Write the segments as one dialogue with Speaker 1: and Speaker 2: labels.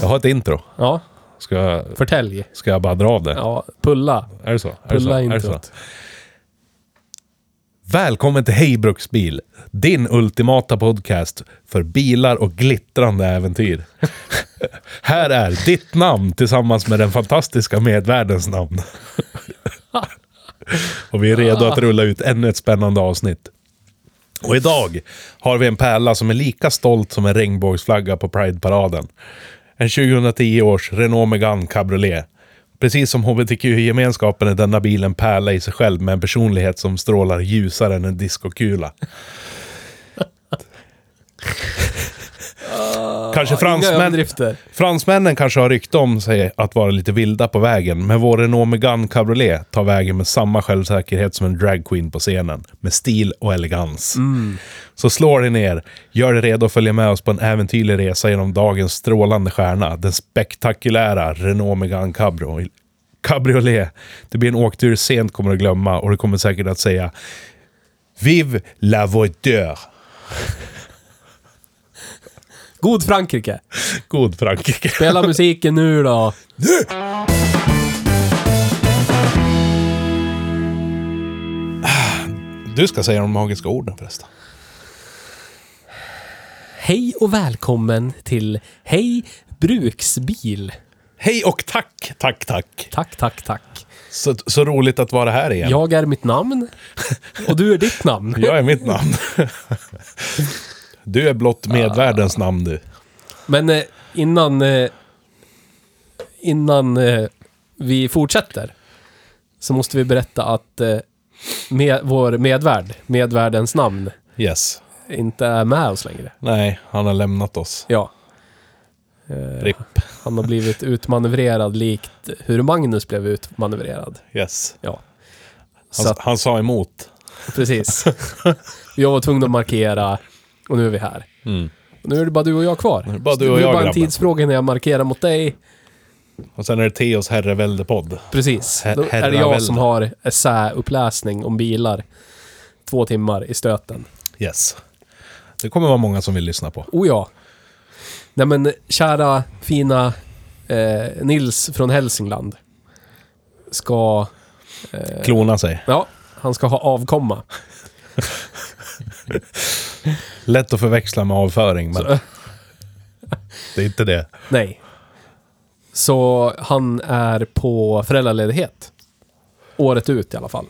Speaker 1: Jag har ett intro.
Speaker 2: Ja,
Speaker 1: Ska jag,
Speaker 2: förtälj.
Speaker 1: ska jag bara dra av det?
Speaker 2: Ja, pulla.
Speaker 1: Är det så? Är det så?
Speaker 2: Pulla
Speaker 1: Är det så?
Speaker 2: introt.
Speaker 1: Välkommen till Hej Bruksbil! Din ultimata podcast för bilar och glittrande äventyr. Här är ditt namn tillsammans med den fantastiska medvärdens namn. och vi är redo att rulla ut ännu ett spännande avsnitt. Och idag har vi en pärla som är lika stolt som en regnbågsflagga på Pride-paraden. En 2010 års Renault Megane Cabriolet. Precis som hbtq-gemenskapen är denna bil en pärla i sig själv med en personlighet som strålar ljusare än en diskokula. Kanske
Speaker 2: Inga
Speaker 1: fransmän,
Speaker 2: överdrifter.
Speaker 1: Fransmännen kanske har rykte om sig att vara lite vilda på vägen, men vår Renault Megane Cabriolet tar vägen med samma självsäkerhet som en dragqueen på scenen, med stil och elegans. Så slå dig ner, gör dig redo att följa med oss på en äventyrlig resa genom dagens strålande stjärna, den spektakulära Renault Megane Cabrio. Cabriolet. Det blir en åktur sent kommer att glömma och du kommer säkert att säga Vive la voiture!
Speaker 2: God Frankrike.
Speaker 1: God Frankrike!
Speaker 2: Spela musiken nu då.
Speaker 1: Du ska säga de magiska orden förresten.
Speaker 2: Hej och välkommen till Hej Bruksbil.
Speaker 1: Hej och tack, tack, tack.
Speaker 2: Tack, tack, tack.
Speaker 1: Så, så roligt att vara här igen.
Speaker 2: Jag är mitt namn och du är ditt namn.
Speaker 1: Jag är mitt namn. Du är blott medvärldens namn du.
Speaker 2: Men eh, innan... eh, Innan eh, vi fortsätter så måste vi berätta att eh, med, vår medvärd, medvärdens namn,
Speaker 1: Yes.
Speaker 2: inte är med oss längre.
Speaker 1: Nej, han har lämnat oss.
Speaker 2: Ja. Eh,
Speaker 1: RIP.
Speaker 2: Han har blivit utmanövrerad likt hur Magnus blev utmanövrerad.
Speaker 1: Yes.
Speaker 2: Ja. Så
Speaker 1: Han,
Speaker 2: att,
Speaker 1: han sa emot.
Speaker 2: precis. Jag var tvungen att markera och nu är vi här.
Speaker 1: Mm.
Speaker 2: Nu är det bara du och jag kvar.
Speaker 1: är det bara du och
Speaker 2: det
Speaker 1: jag,
Speaker 2: är bara en
Speaker 1: grabben.
Speaker 2: tidsfråga när jag markerar mot dig.
Speaker 1: Och sen är det Theos herrevälde-podd.
Speaker 2: Precis.
Speaker 1: Her-
Speaker 2: Då är det
Speaker 1: herravälde.
Speaker 2: jag som har essäuppläsning om bilar. Två timmar i stöten.
Speaker 1: Yes. Det kommer vara många som vill lyssna på.
Speaker 2: Oh ja. Nej men, kära fina eh, Nils från Hälsingland. Ska...
Speaker 1: Klona sig.
Speaker 2: Ja, han ska ha avkomma.
Speaker 1: Lätt att förväxla med avföring, men... Det är inte det.
Speaker 2: Nej. Så han är på föräldraledighet. Året ut i alla fall.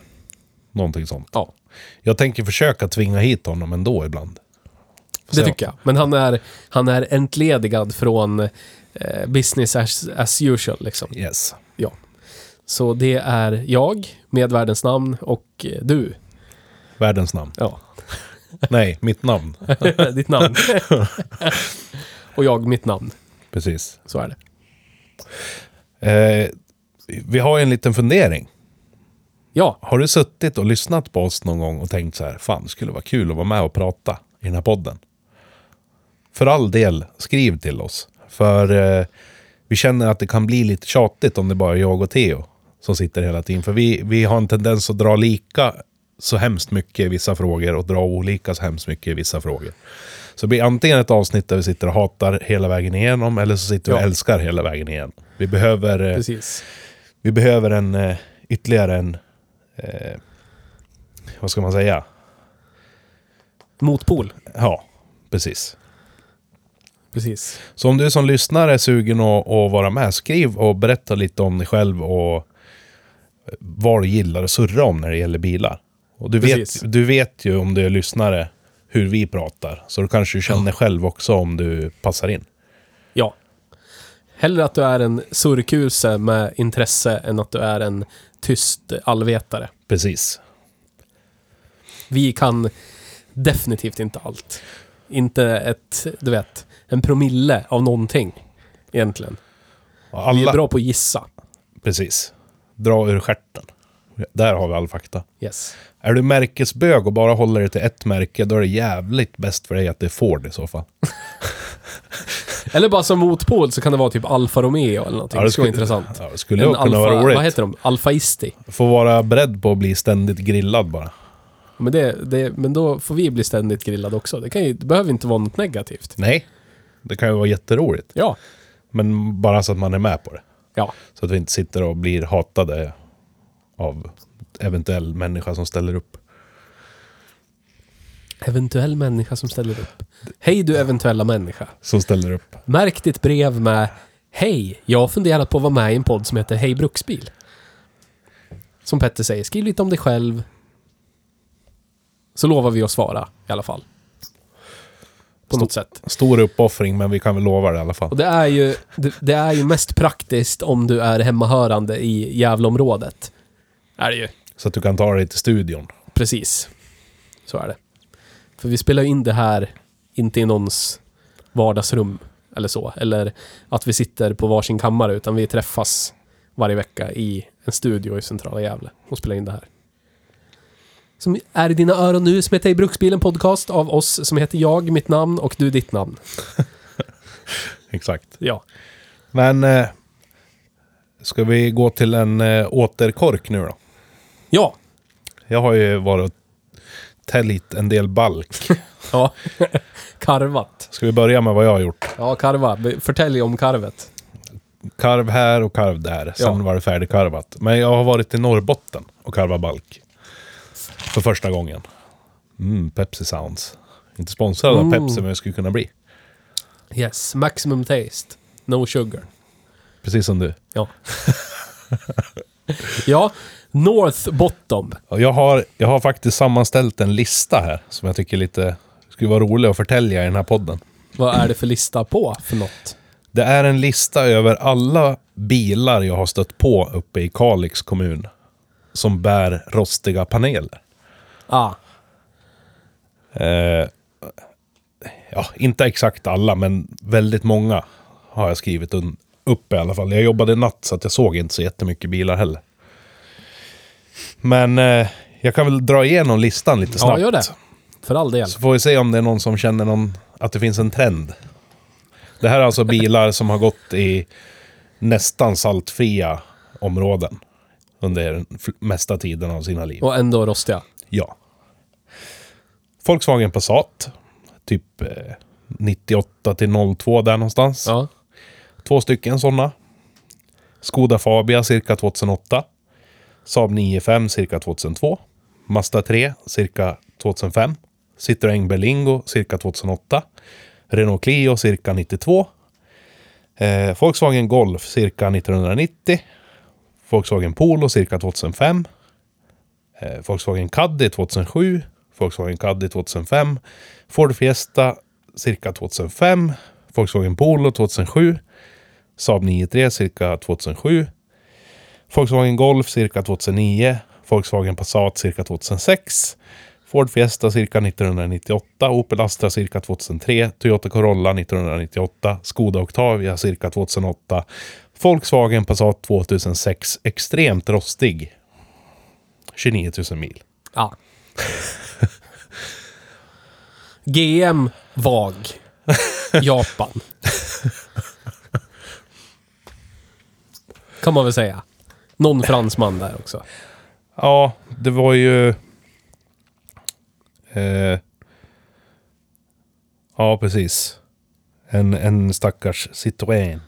Speaker 1: Någonting sånt.
Speaker 2: Ja,
Speaker 1: Jag tänker försöka tvinga hit honom ändå ibland.
Speaker 2: det tycker jag. Men han är, han är entledigad från eh, business as, as usual liksom.
Speaker 1: jag. Yes.
Speaker 2: Ja. Så det är jag, med världens namn och eh, du.
Speaker 1: Världens namn.
Speaker 2: Ja,
Speaker 1: Nej, mitt namn.
Speaker 2: ditt namn. och jag, mitt namn.
Speaker 1: Precis.
Speaker 2: Så är det.
Speaker 1: Eh, vi har ju en liten fundering.
Speaker 2: Ja,
Speaker 1: Har du suttit och lyssnat på oss någon gång och tänkt så här, fan det skulle vara kul att vara med och prata i den här podden? För all del, skriv till oss. För eh, vi känner att det kan bli lite tjatigt om det bara är jag och Theo som sitter hela tiden. För vi, vi har en tendens att dra lika så hemskt mycket i vissa frågor och dra olika så hemskt mycket i vissa frågor. Så det blir antingen ett avsnitt där vi sitter och hatar hela vägen igenom eller så sitter vi och
Speaker 2: Ja.
Speaker 1: älskar hela vägen igenom. Vi behöver... eh,
Speaker 2: precis.
Speaker 1: vi behöver en eh, ytterligare en... Eh, vad ska man säga?
Speaker 2: Motpol.
Speaker 1: Ja, precis.
Speaker 2: Precis.
Speaker 1: Så om du som lyssnare är sugen att, att vara med, skriv och berätta lite om dig själv och eh, vad du gillar att surra om när det gäller bilar. Och du,
Speaker 2: Precis.
Speaker 1: vet, du vet ju om du är lyssnare hur vi pratar, så du kanske känner själv också om du passar in.
Speaker 2: Ja. Hellre att du är en surkuse med intresse än att du är en tyst allvetare.
Speaker 1: Precis.
Speaker 2: Vi kan definitivt inte allt. Inte ett, du vet, en promille av någonting. Egentligen. Vi är
Speaker 1: Alla,
Speaker 2: bra på att gissa.
Speaker 1: Precis. Dra ur stjärten. Där har vi all fakta.
Speaker 2: Yes.
Speaker 1: Är du märkesbög och bara håller dig till ett märke, då är det jävligt bäst för dig att det är Ford i så fall.
Speaker 2: Eller bara som motpol så kan det vara typ Alfa Romeo eller någonting.
Speaker 1: Ja,
Speaker 2: det
Speaker 1: det
Speaker 2: skulle vara
Speaker 1: skulle-
Speaker 2: intressant.
Speaker 1: Ja, det skulle ju kunna vara
Speaker 2: Vad
Speaker 1: roligt.
Speaker 2: heter de? Alfaisti.
Speaker 1: Får vara beredd på att bli ständigt grillad bara.
Speaker 2: Men, det, det, men då får vi bli ständigt grillade också. Det, kan ju, det behöver inte vara något negativt.
Speaker 1: Nej. Det kan ju vara jätteroligt.
Speaker 2: Ja.
Speaker 1: Men bara så att man är med på det.
Speaker 2: Ja.
Speaker 1: Så att vi inte sitter och blir hatade av eventuell människa som ställer upp.
Speaker 2: Eventuell människa som ställer upp. Hej du eventuella människa.
Speaker 1: Som ställer upp.
Speaker 2: Märk ditt brev med Hej, jag har funderat på att vara med i en podd som heter Hej Bruksbil. Som Petter säger, skriv lite om dig själv. Så lovar vi att svara i alla fall. På något sätt.
Speaker 1: Stor uppoffring, men vi kan väl lova det i alla fall.
Speaker 2: Och det är ju, det, det är ju mest praktiskt om du är hemmahörande i Gävleområdet. Är det ju.
Speaker 1: Så att du kan ta dig till studion.
Speaker 2: Precis. Så är det. För vi spelar ju in det här, inte i någons vardagsrum eller så. Eller att vi sitter på varsin kammare, utan vi träffas varje vecka i en studio i centrala Gävle och spelar in det här. Som är i dina öron nu, som heter I Bruksbilen Podcast av oss, som heter jag, mitt namn och du, ditt namn.
Speaker 1: Exakt.
Speaker 2: Ja.
Speaker 1: Men eh, ska vi gå till en eh, återkork nu då?
Speaker 2: Ja.
Speaker 1: Jag har ju varit och täljt en del balk.
Speaker 2: Ja. Karvat.
Speaker 1: Ska vi börja med vad jag har gjort?
Speaker 2: Ja, karva. Be- Förtälj om karvet.
Speaker 1: Karv här och karv där. Sen
Speaker 2: Ja.
Speaker 1: var det färdigkarvat. Men jag har varit i Norrbotten och karvat balk. För första gången. Mm, Pepsi Sounds. Inte sponsrad av Pepsi, men jag skulle kunna bli.
Speaker 2: Yes. Maximum taste. No sugar.
Speaker 1: Precis som du.
Speaker 2: Ja. ja, North Bottom.
Speaker 1: Och Jag har, jag har faktiskt sammanställt en lista här som jag tycker är lite skulle vara rolig att förtälja i den här podden.
Speaker 2: Vad är det för lista på för något?
Speaker 1: Det är en lista över alla bilar jag har stött på uppe i Kalix kommun som bär rostiga paneler.
Speaker 2: Ah,
Speaker 1: Eh, ja, inte exakt alla, men väldigt många har jag skrivit un- upp i alla fall. Jag jobbade natt så att jag såg inte så jättemycket bilar heller. Men eh, jag kan väl dra igenom listan lite snabbt.
Speaker 2: ja, gör det. För all del.
Speaker 1: Så får vi se om det är någon som känner någon, att det finns en trend. Det här är alltså bilar som har gått i nästan saltfria områden under den f- mesta tiden av sina liv.
Speaker 2: Och ändå rostiga.
Speaker 1: Ja. Volkswagen Passat. Typ eh, 98 till 02 där någonstans.
Speaker 2: Ja.
Speaker 1: Två stycken sådana. Skoda Fabia cirka 2008. Saab 9-5 cirka 2002. Mazda 3 cirka 2005. Citroën Berlingo cirka 2008. Renault Clio cirka 92. Eh, Volkswagen Golf cirka 1990. Volkswagen Polo cirka 2005. Eh, Volkswagen Caddy 2007. Volkswagen Caddy 2005. Ford Fiesta cirka 2005. Volkswagen Polo 2007. Saab 9-3 cirka 2007. Volkswagen Golf cirka 2009. Volkswagen Passat cirka 2006. Ford Fiesta cirka 1998. Opel Astra cirka 2003. Toyota Corolla 1998. Skoda Octavia cirka 2008. Volkswagen Passat 2006. Extremt rostig. 29 000 mil.
Speaker 2: Ah. GM VAG. Japan. Kan man väl säga. Någon fransman där också.
Speaker 1: Ja, det var ju... Eh, ja, precis. En, en stackars Citroën.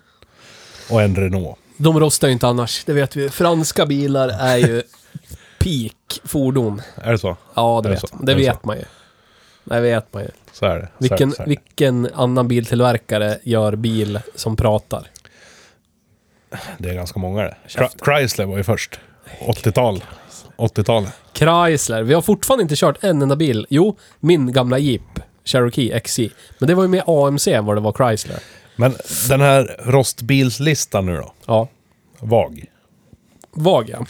Speaker 1: Och en Renault.
Speaker 2: De rostar ju inte annars, det vet vi. Franska bilar är ju peak fordon.
Speaker 1: Är det så?
Speaker 2: Ja, det,
Speaker 1: Är det
Speaker 2: vet,
Speaker 1: så?
Speaker 2: det
Speaker 1: Är det så?
Speaker 2: vet man ju. Det vet man ju.
Speaker 1: Så är det. Så är
Speaker 2: Vilken,
Speaker 1: det, så är det.
Speaker 2: vilken annan biltillverkare gör bil som pratar?
Speaker 1: det är ganska många det. Chri- Chrysler var ju först. 80-tal. 80-tal.
Speaker 2: Chrysler. Vi har fortfarande inte kört en enda bil. Jo, min gamla Jeep. Cherokee XC. Men det var ju mer AMC än vad det var Chrysler.
Speaker 1: Men den här rostbilslistan nu då?
Speaker 2: Ja.
Speaker 1: VAG.
Speaker 2: Vag, ja.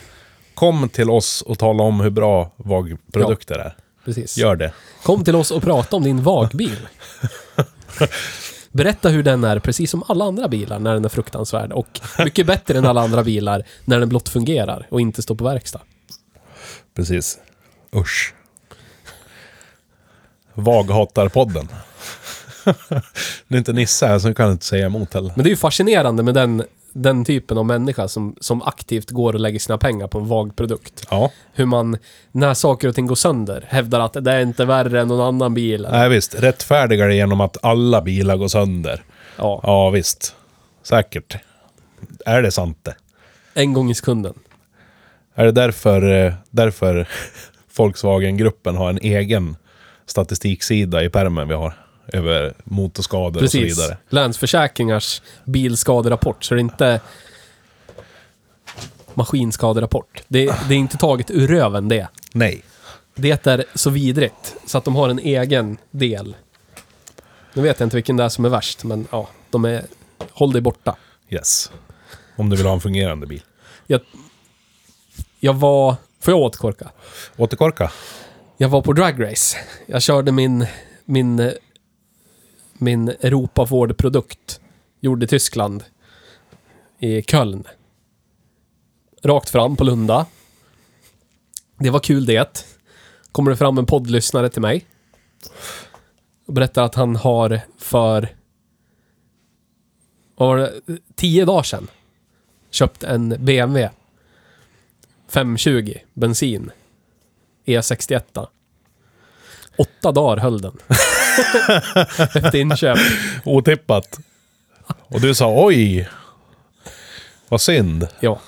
Speaker 1: Kom till oss och tala om hur bra VAG-produkter är.
Speaker 2: Precis.
Speaker 1: Gör det.
Speaker 2: Kom till oss och prata om din vagbil. Berätta hur den är, precis som alla andra bilar, när den är fruktansvärd. Och mycket bättre än alla andra bilar, när den blott fungerar och inte står på verkstad.
Speaker 1: Precis. Usch. VAG hatar podden. det är inte Nisse här, så jag kan inte säga emot heller.
Speaker 2: Men det är ju fascinerande med den, den typen av människa som, som aktivt går och lägger sina pengar på en vag produkt.
Speaker 1: Ja,
Speaker 2: Hur man, när saker och ting går sönder, hävdar att det är inte värre än någon annan bil.
Speaker 1: nej visst. Rättfärdigar det genom att alla bilar går sönder.
Speaker 2: Ja,
Speaker 1: Ja, visst. Säkert. Är det sant det?
Speaker 2: en gång i sekunden.
Speaker 1: Är det därför, eh, därför Volkswagen-gruppen har en egen statistiksida i permen vi har? Över motorskador och så
Speaker 2: Precis.
Speaker 1: vidare.
Speaker 2: Länsförsäkringars bilskaderapport, så det är inte maskinskaderapport. Det, det är inte taget ur röven det.
Speaker 1: Nej.
Speaker 2: Det är så vidrigt, så att de har en egen del. Nu vet jag inte vilken det är som är värst, men ja, de är... Håll dig borta.
Speaker 1: Yes. Om du vill ha en fungerande bil.
Speaker 2: Jag, jag var... Får jag återkorka?
Speaker 1: Återkorka.
Speaker 2: Jag var på dragrace. Jag körde min... Min... eh, Min Europa Ford-produkt. Gjord i Tyskland. I Köln. Rakt fram på Lunda. Det var kul det. Kommer det fram en poddlyssnare till mig. Och berättar att han har för... Vad var det? Tio dagar sedan. Köpt en BMW. 520 bensin. E61. Åtta dagar höll den. Efter inköp.
Speaker 1: Otippat. Och du sa oj. Vad synd.
Speaker 2: Ja.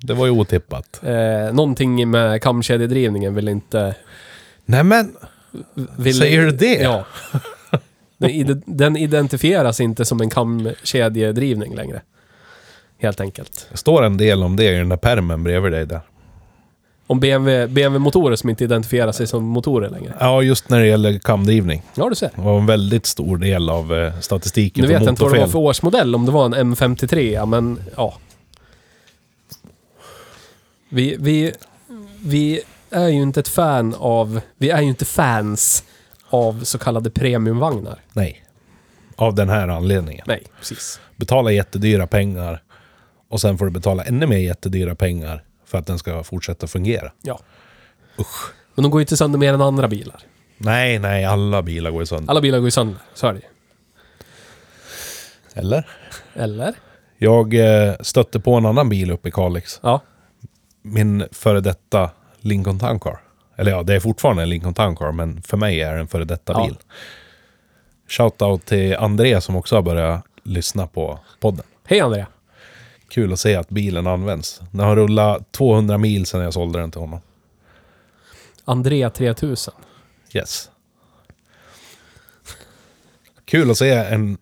Speaker 1: Det var ju otippat.
Speaker 2: Eh, någonting med kamkedjedrivningen vill inte...
Speaker 1: Nej men,
Speaker 2: Vill,
Speaker 1: Säger du det?
Speaker 2: Ja. Den, ide- den identifieras inte som en kamkedjedrivning längre. Helt enkelt.
Speaker 1: det står en del om det i den där permen bredvid dig där.
Speaker 2: Om BMW, BMW-motorer som inte identifierar sig som motorer längre.
Speaker 1: Ja, just när det gäller kamdrivning.
Speaker 2: Ja, du ser.
Speaker 1: Det var en väldigt stor del av eh, statistiken
Speaker 2: Nu
Speaker 1: för
Speaker 2: vet jag inte vad det var
Speaker 1: motorfel.
Speaker 2: för årsmodell, om det var en M53, ja, men ja. Vi, vi, vi är ju inte ett fan av, vi är ju inte fans av så kallade premiumvagnar.
Speaker 1: Nej. Av den här anledningen.
Speaker 2: Nej, precis.
Speaker 1: Betala jättedyra pengar och sen får du betala ännu mer jättedyra pengar för att den ska fortsätta fungera.
Speaker 2: Ja. Usch. Men de går ju inte sönder mer än andra bilar.
Speaker 1: Nej, nej, alla bilar går ju sönder.
Speaker 2: Alla bilar går ju sönder, så är det ju. Ah.
Speaker 1: Eller?
Speaker 2: Eller?
Speaker 1: Jag eh, stötte på en annan bil uppe i Kalix.
Speaker 2: Ja.
Speaker 1: Min före detta Lincoln Town Car. Eller ja, det är fortfarande en Lincoln Town Car, men för mig är det en före detta
Speaker 2: Ja.
Speaker 1: bil. Shoutout till André som också har börjat lyssna på podden.
Speaker 2: Hej Andrea.
Speaker 1: Kul att se att bilen används. Den har rullat 200 mil sedan jag sålde den till honom.
Speaker 2: Andrea 3000.
Speaker 1: Yes. Kul att se en...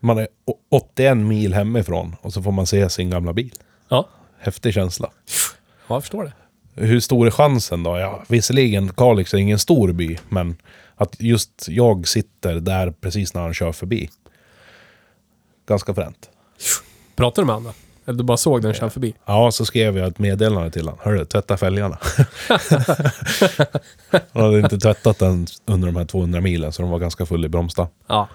Speaker 1: Man är å- 81 mil hemifrån och så får man se sin gamla bil.
Speaker 2: Ja.
Speaker 1: Häftig känsla.
Speaker 2: Ja, jag förstår det.
Speaker 1: Hur stor är chansen då? Ja, visserligen, Kalix är ingen stor by, men att just jag sitter där precis när han kör förbi. Ganska fränt.
Speaker 2: Pratar du med Anna? Eller du bara såg den köra förbi?
Speaker 1: Ja, så skrev jag ett meddelande till honom. Hörru, tvätta fälgarna. han hade inte tvättat den under de här 200 milen, så de var ganska full i bromsta.
Speaker 2: Ja.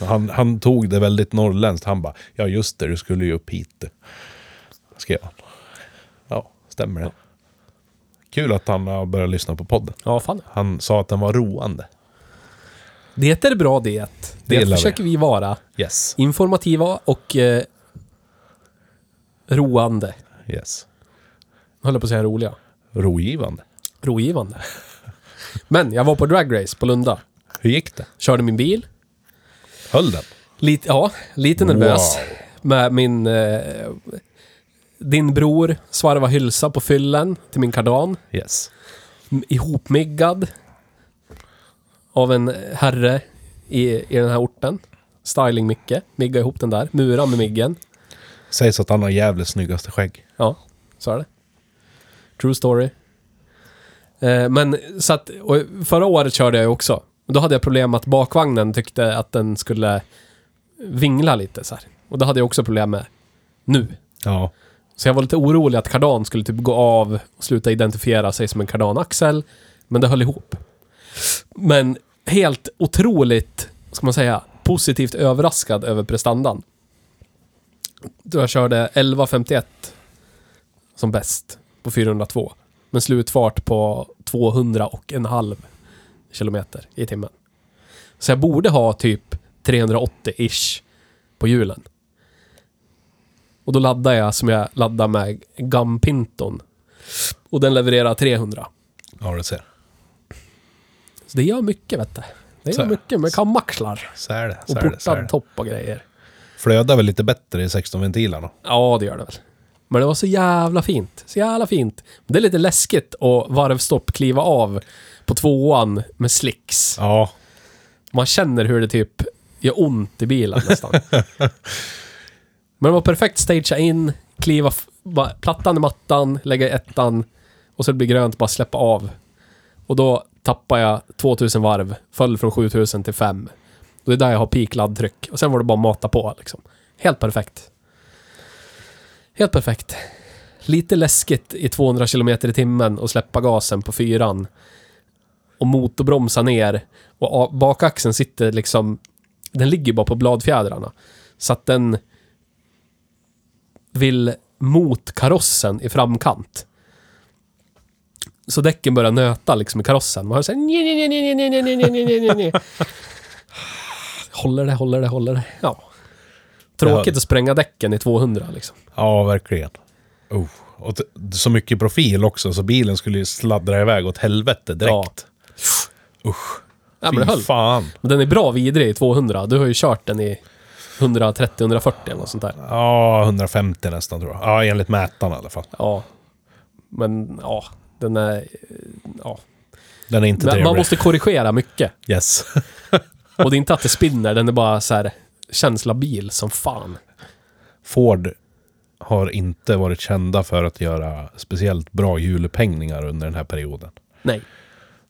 Speaker 1: Han, han tog det väldigt norrländskt. Han bara, ja just det, du skulle ju upp hit. du." Skrev han. Ja, stämmer det. Kul att han har börjat lyssna på podden.
Speaker 2: Ja, fan.
Speaker 1: Han sa att den var roande.
Speaker 2: Det är bra det. Det,
Speaker 1: gillar vi.
Speaker 2: försöker vi vara.
Speaker 1: Yes.
Speaker 2: Informativa och eh, roande.
Speaker 1: Yes.
Speaker 2: Jag höll på att säga roliga.
Speaker 1: Rogivande.
Speaker 2: Rogivande. Men jag var på dragrace på Lunda.
Speaker 1: Hur gick det?
Speaker 2: Körde min bil.
Speaker 1: Höll den?
Speaker 2: Lite, ja, lite nervös.
Speaker 1: Wow.
Speaker 2: Med min... Eh, din bror svarva hylsa på fyllen till min kardan.
Speaker 1: Yes.
Speaker 2: m- Ihopmiggad. Av en herre i, i den här orten. Styling-Micke. Migga ihop den där. Mura med miggen.
Speaker 1: Sägs att han har jävligt snyggaste skägg.
Speaker 2: Ja, så är det. True story. Eh, men så att, och förra året körde jag ju också. Men då hade jag problem att bakvagnen tyckte att den skulle vingla lite så här. Och det hade jag också problem med nu.
Speaker 1: Ja.
Speaker 2: Så jag var lite orolig att kardan skulle typ gå av och sluta identifiera sig som en kardanaxel. Men det höll ihop. Men helt otroligt, ska man säga, positivt överraskad över prestandan. Då jag körde 11.51 som bäst på 402. Men slutfart på 200 och en halv kilometer i timmen. Så jag borde ha typ 380-ish på hjulen. Och då laddar jag som jag laddar med Gampinton. Och den levererar 300.
Speaker 1: ja, du ser.
Speaker 2: Så det gör mycket vet du. Det
Speaker 1: Så
Speaker 2: gör
Speaker 1: är
Speaker 2: mycket med kammaxlar.
Speaker 1: Så är det.
Speaker 2: Och
Speaker 1: Så är det, så är
Speaker 2: portad
Speaker 1: det.
Speaker 2: topp och grejer.
Speaker 1: Flödar väl lite bättre i 16-ventilarna?
Speaker 2: Ja, det gör det väl. Men det var så jävla fint. Så jävla fint. Det är lite läskigt att varvstopp kliva av på tvåan med slicks.
Speaker 1: Ja.
Speaker 2: Man känner hur det typ gör ont i bilen nästan. Men det var perfekt stagea in, kliva f- bara plattan i mattan, lägga i ettan och så det blir grönt, bara släppa av. Och då tappar jag 2000 varv, föll från 7000 till 5. Och det är där jag har peak laddtryck. Och sen var det bara mata på liksom. Helt perfekt. Helt perfekt. Lite läskigt i 200 km i timmen och släppa gasen på fyran. Och motorbromsa ner. Och a- bakaxeln sitter liksom... Den ligger bara på bladfjädrarna. Så att den vill mot karossen i framkant. Så däcken börjar nöta liksom i karossen. Man hör såhär... "Nje, nje, nje, nje, nje, nje, nje, nje, nje, nje." Håller det, håller det, håller det. Ja. Tråkigt att spränga däcken i 200 liksom.
Speaker 1: Ja, verkligen. Oh. Och t- så mycket profil också, så bilen skulle ju sladdra iväg åt helvete direkt.
Speaker 2: Ja, men det höll.
Speaker 1: Fy fan.
Speaker 2: Men den är bra vidrig i 200. Du har ju kört den i 130-140 eller något sånt där.
Speaker 1: Ja, 150 nästan tror jag. Ja, enligt mätaren i alla fall.
Speaker 2: Ja. Men ja, den är... eh, Ja.
Speaker 1: Den är inte
Speaker 2: Men man
Speaker 1: trevlig.
Speaker 2: måste korrigera mycket.
Speaker 1: Yes.
Speaker 2: Och det är inte att det spinner, den är bara så här känsla bil som fan.
Speaker 1: Ford har inte varit kända för att göra speciellt bra hjulupphängningar under den här perioden.
Speaker 2: Nej.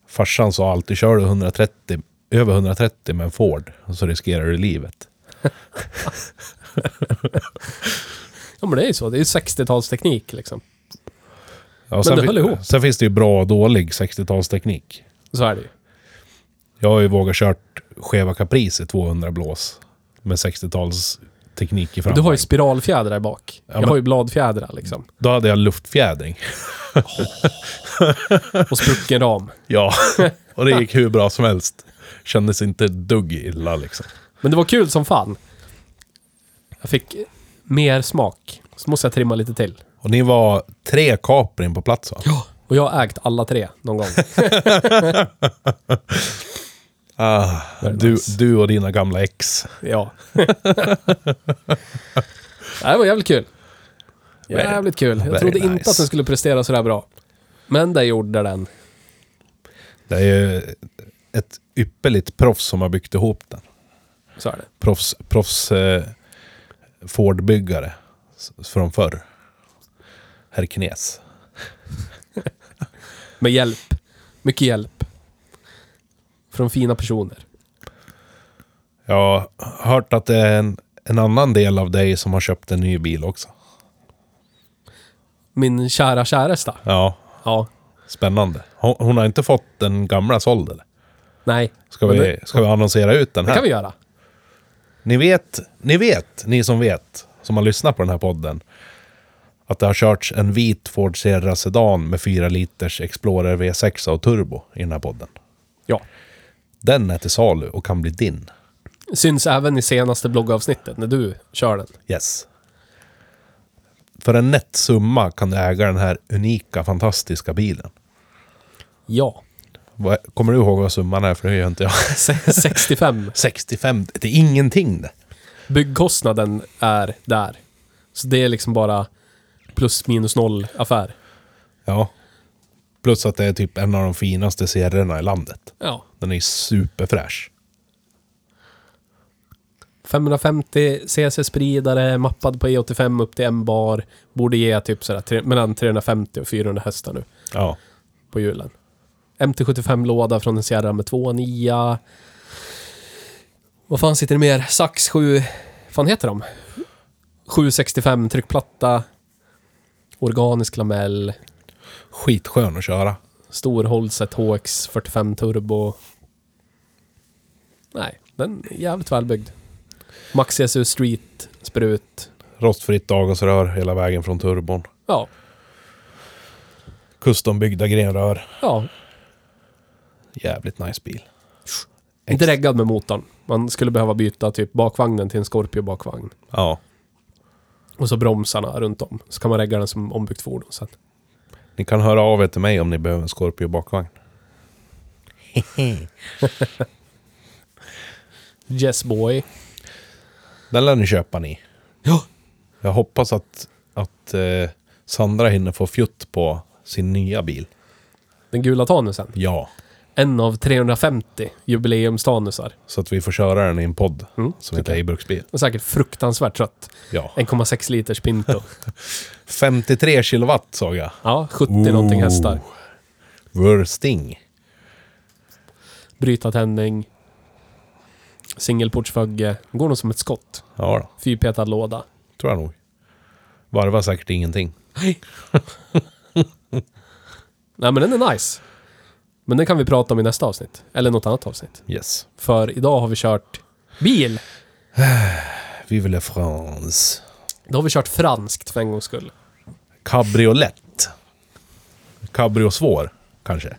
Speaker 1: Farsan sa alltid, kör du 130, över 130 med en Ford så riskerar du livet.
Speaker 2: Ja men det är ju så. Det är ju 60-talsteknik liksom.
Speaker 1: Ja, sen
Speaker 2: det
Speaker 1: fi-
Speaker 2: höll ihop.
Speaker 1: Sen finns det ju bra och dålig 60-talsteknik.
Speaker 2: Så är det ju.
Speaker 1: Jag har ju vågat kört skeva Caprice i 200 blås med 60-talsteknik i
Speaker 2: Du har ju
Speaker 1: framvagn.
Speaker 2: spiralfjädrar bak. Jag
Speaker 1: men-
Speaker 2: har ju bladfjädrar liksom.
Speaker 1: Då hade jag luftfjädring.
Speaker 2: Och sprucken ram.
Speaker 1: Ja, och det gick hur bra som helst. Kändes inte ett dugg illa liksom.
Speaker 2: Men det var kul som fan. Jag fick mer smak. Så måste jag trimma lite till.
Speaker 1: Och ni var tre Caprin på plats va?
Speaker 2: Ja. Och jag har ägt alla tre någon gång.
Speaker 1: Ah,
Speaker 2: Very
Speaker 1: du,
Speaker 2: nice.
Speaker 1: du och dina gamla ex.
Speaker 2: ja. det var jävligt kul. Jävligt kul. Jag
Speaker 1: very
Speaker 2: trodde inte
Speaker 1: nice.
Speaker 2: att den skulle prestera sådär bra. Men det gjorde den.
Speaker 1: Det är ju ett ypperligt proffs som har byggt ihop den.
Speaker 2: Så är det.
Speaker 1: Proffs, proffs eh, Ford-byggare s- från förr. Herr Knes.
Speaker 2: Med hjälp. Mycket hjälp. Från fina personer.
Speaker 1: Jag har hört att det är en, en annan del av dig som har köpt en ny bil också.
Speaker 2: Min kära käresta.
Speaker 1: Ja,
Speaker 2: Ja.
Speaker 1: spännande. Hon, hon har inte fått den gamla såld eller?
Speaker 2: Nej.
Speaker 1: Ska
Speaker 2: Men
Speaker 1: vi,
Speaker 2: Det,
Speaker 1: ska vi annonsera ut den
Speaker 2: det
Speaker 1: här?
Speaker 2: kan vi göra.
Speaker 1: Ni vet, ni vet, ni som vet, som har lyssnat på den här podden, att det har körts en vit Ford Sierra Sedan med 4 liters Explorer V6 och turbo i den här podden.
Speaker 2: Ja.
Speaker 1: Den är till salu och kan bli din.
Speaker 2: Syns även i senaste bloggavsnittet när du kör den.
Speaker 1: Yes. För en nätt summa kan du äga den här unika, fantastiska bilen.
Speaker 2: Ja.
Speaker 1: Vad- Kommer du ihåg vad summan är? För det gör inte jag.
Speaker 2: Se- 65.
Speaker 1: 65, det är ingenting det.
Speaker 2: Byggkostnaden är där. Så det är liksom bara plus minus noll affär.
Speaker 1: Ja. Plus att det är typ en av de finaste serierna i landet.
Speaker 2: Ja.
Speaker 1: Den är superfräsch.
Speaker 2: 550 CC-spridare, mappad på E85 upp till en bar. Borde ge typ sådär tre- mellan 350 och 400 hästar nu
Speaker 1: Ja.
Speaker 2: på hjulen. MT75-låda från en Sierra med 2,9. Vad fan sitter det mer? Sax 7... fan heter de? 765 tryckplatta. Organisk lamell.
Speaker 1: Skitskön att köra.
Speaker 2: Stor Holset HX 45 turbo. Nej, den är jävligt välbyggd. Max CSU Street sprut.
Speaker 1: Rostfritt avgasrör hela vägen från turbon.
Speaker 2: Ja,
Speaker 1: Custombyggda grenrör.
Speaker 2: ja.
Speaker 1: Jävligt nice bil.
Speaker 2: Inte reggad med motorn. Man skulle behöva byta typ bakvagnen till en Scorpio bakvagn.
Speaker 1: Ja.
Speaker 2: Och så bromsarna runt om. Så kan man regga den som ombyggt fordon sen.
Speaker 1: Ni kan höra av er till mig om ni behöver en Scorpio bakvagn.
Speaker 2: Yes boy.
Speaker 1: Den lär ni köpa ni.
Speaker 2: Ja.
Speaker 1: Jag hoppas att, att eh, Sandra hinner få fjutt på sin nya bil.
Speaker 2: Den gula tanusen.
Speaker 1: Ja.
Speaker 2: En av 350 jubileumstanusar.
Speaker 1: Så att vi får köra den i en podd
Speaker 2: Mm,
Speaker 1: som heter Ejbruksbil.
Speaker 2: Och säkert fruktansvärt trött.
Speaker 1: Ja.
Speaker 2: 1,6 liters Pinto.
Speaker 1: 53 kilowatt såg jag.
Speaker 2: Ja, 70 någonting
Speaker 1: Ooh.
Speaker 2: hästar.
Speaker 1: Wursting.
Speaker 2: Bryta tändning. Singelportsfögge. Går nog som ett skott.
Speaker 1: Ja då,
Speaker 2: Fyrpetad låda.
Speaker 1: tror jag nog. Varvar säkert ingenting.
Speaker 2: Nej men den är nice. Men den kan vi prata om i nästa avsnitt. Eller något annat avsnitt.
Speaker 1: Yes.
Speaker 2: För idag har vi kört bil.
Speaker 1: Vive la France.
Speaker 2: Då har vi kört franskt för en gångs skull.
Speaker 1: Cabriolet. Cabrio svår, kanske?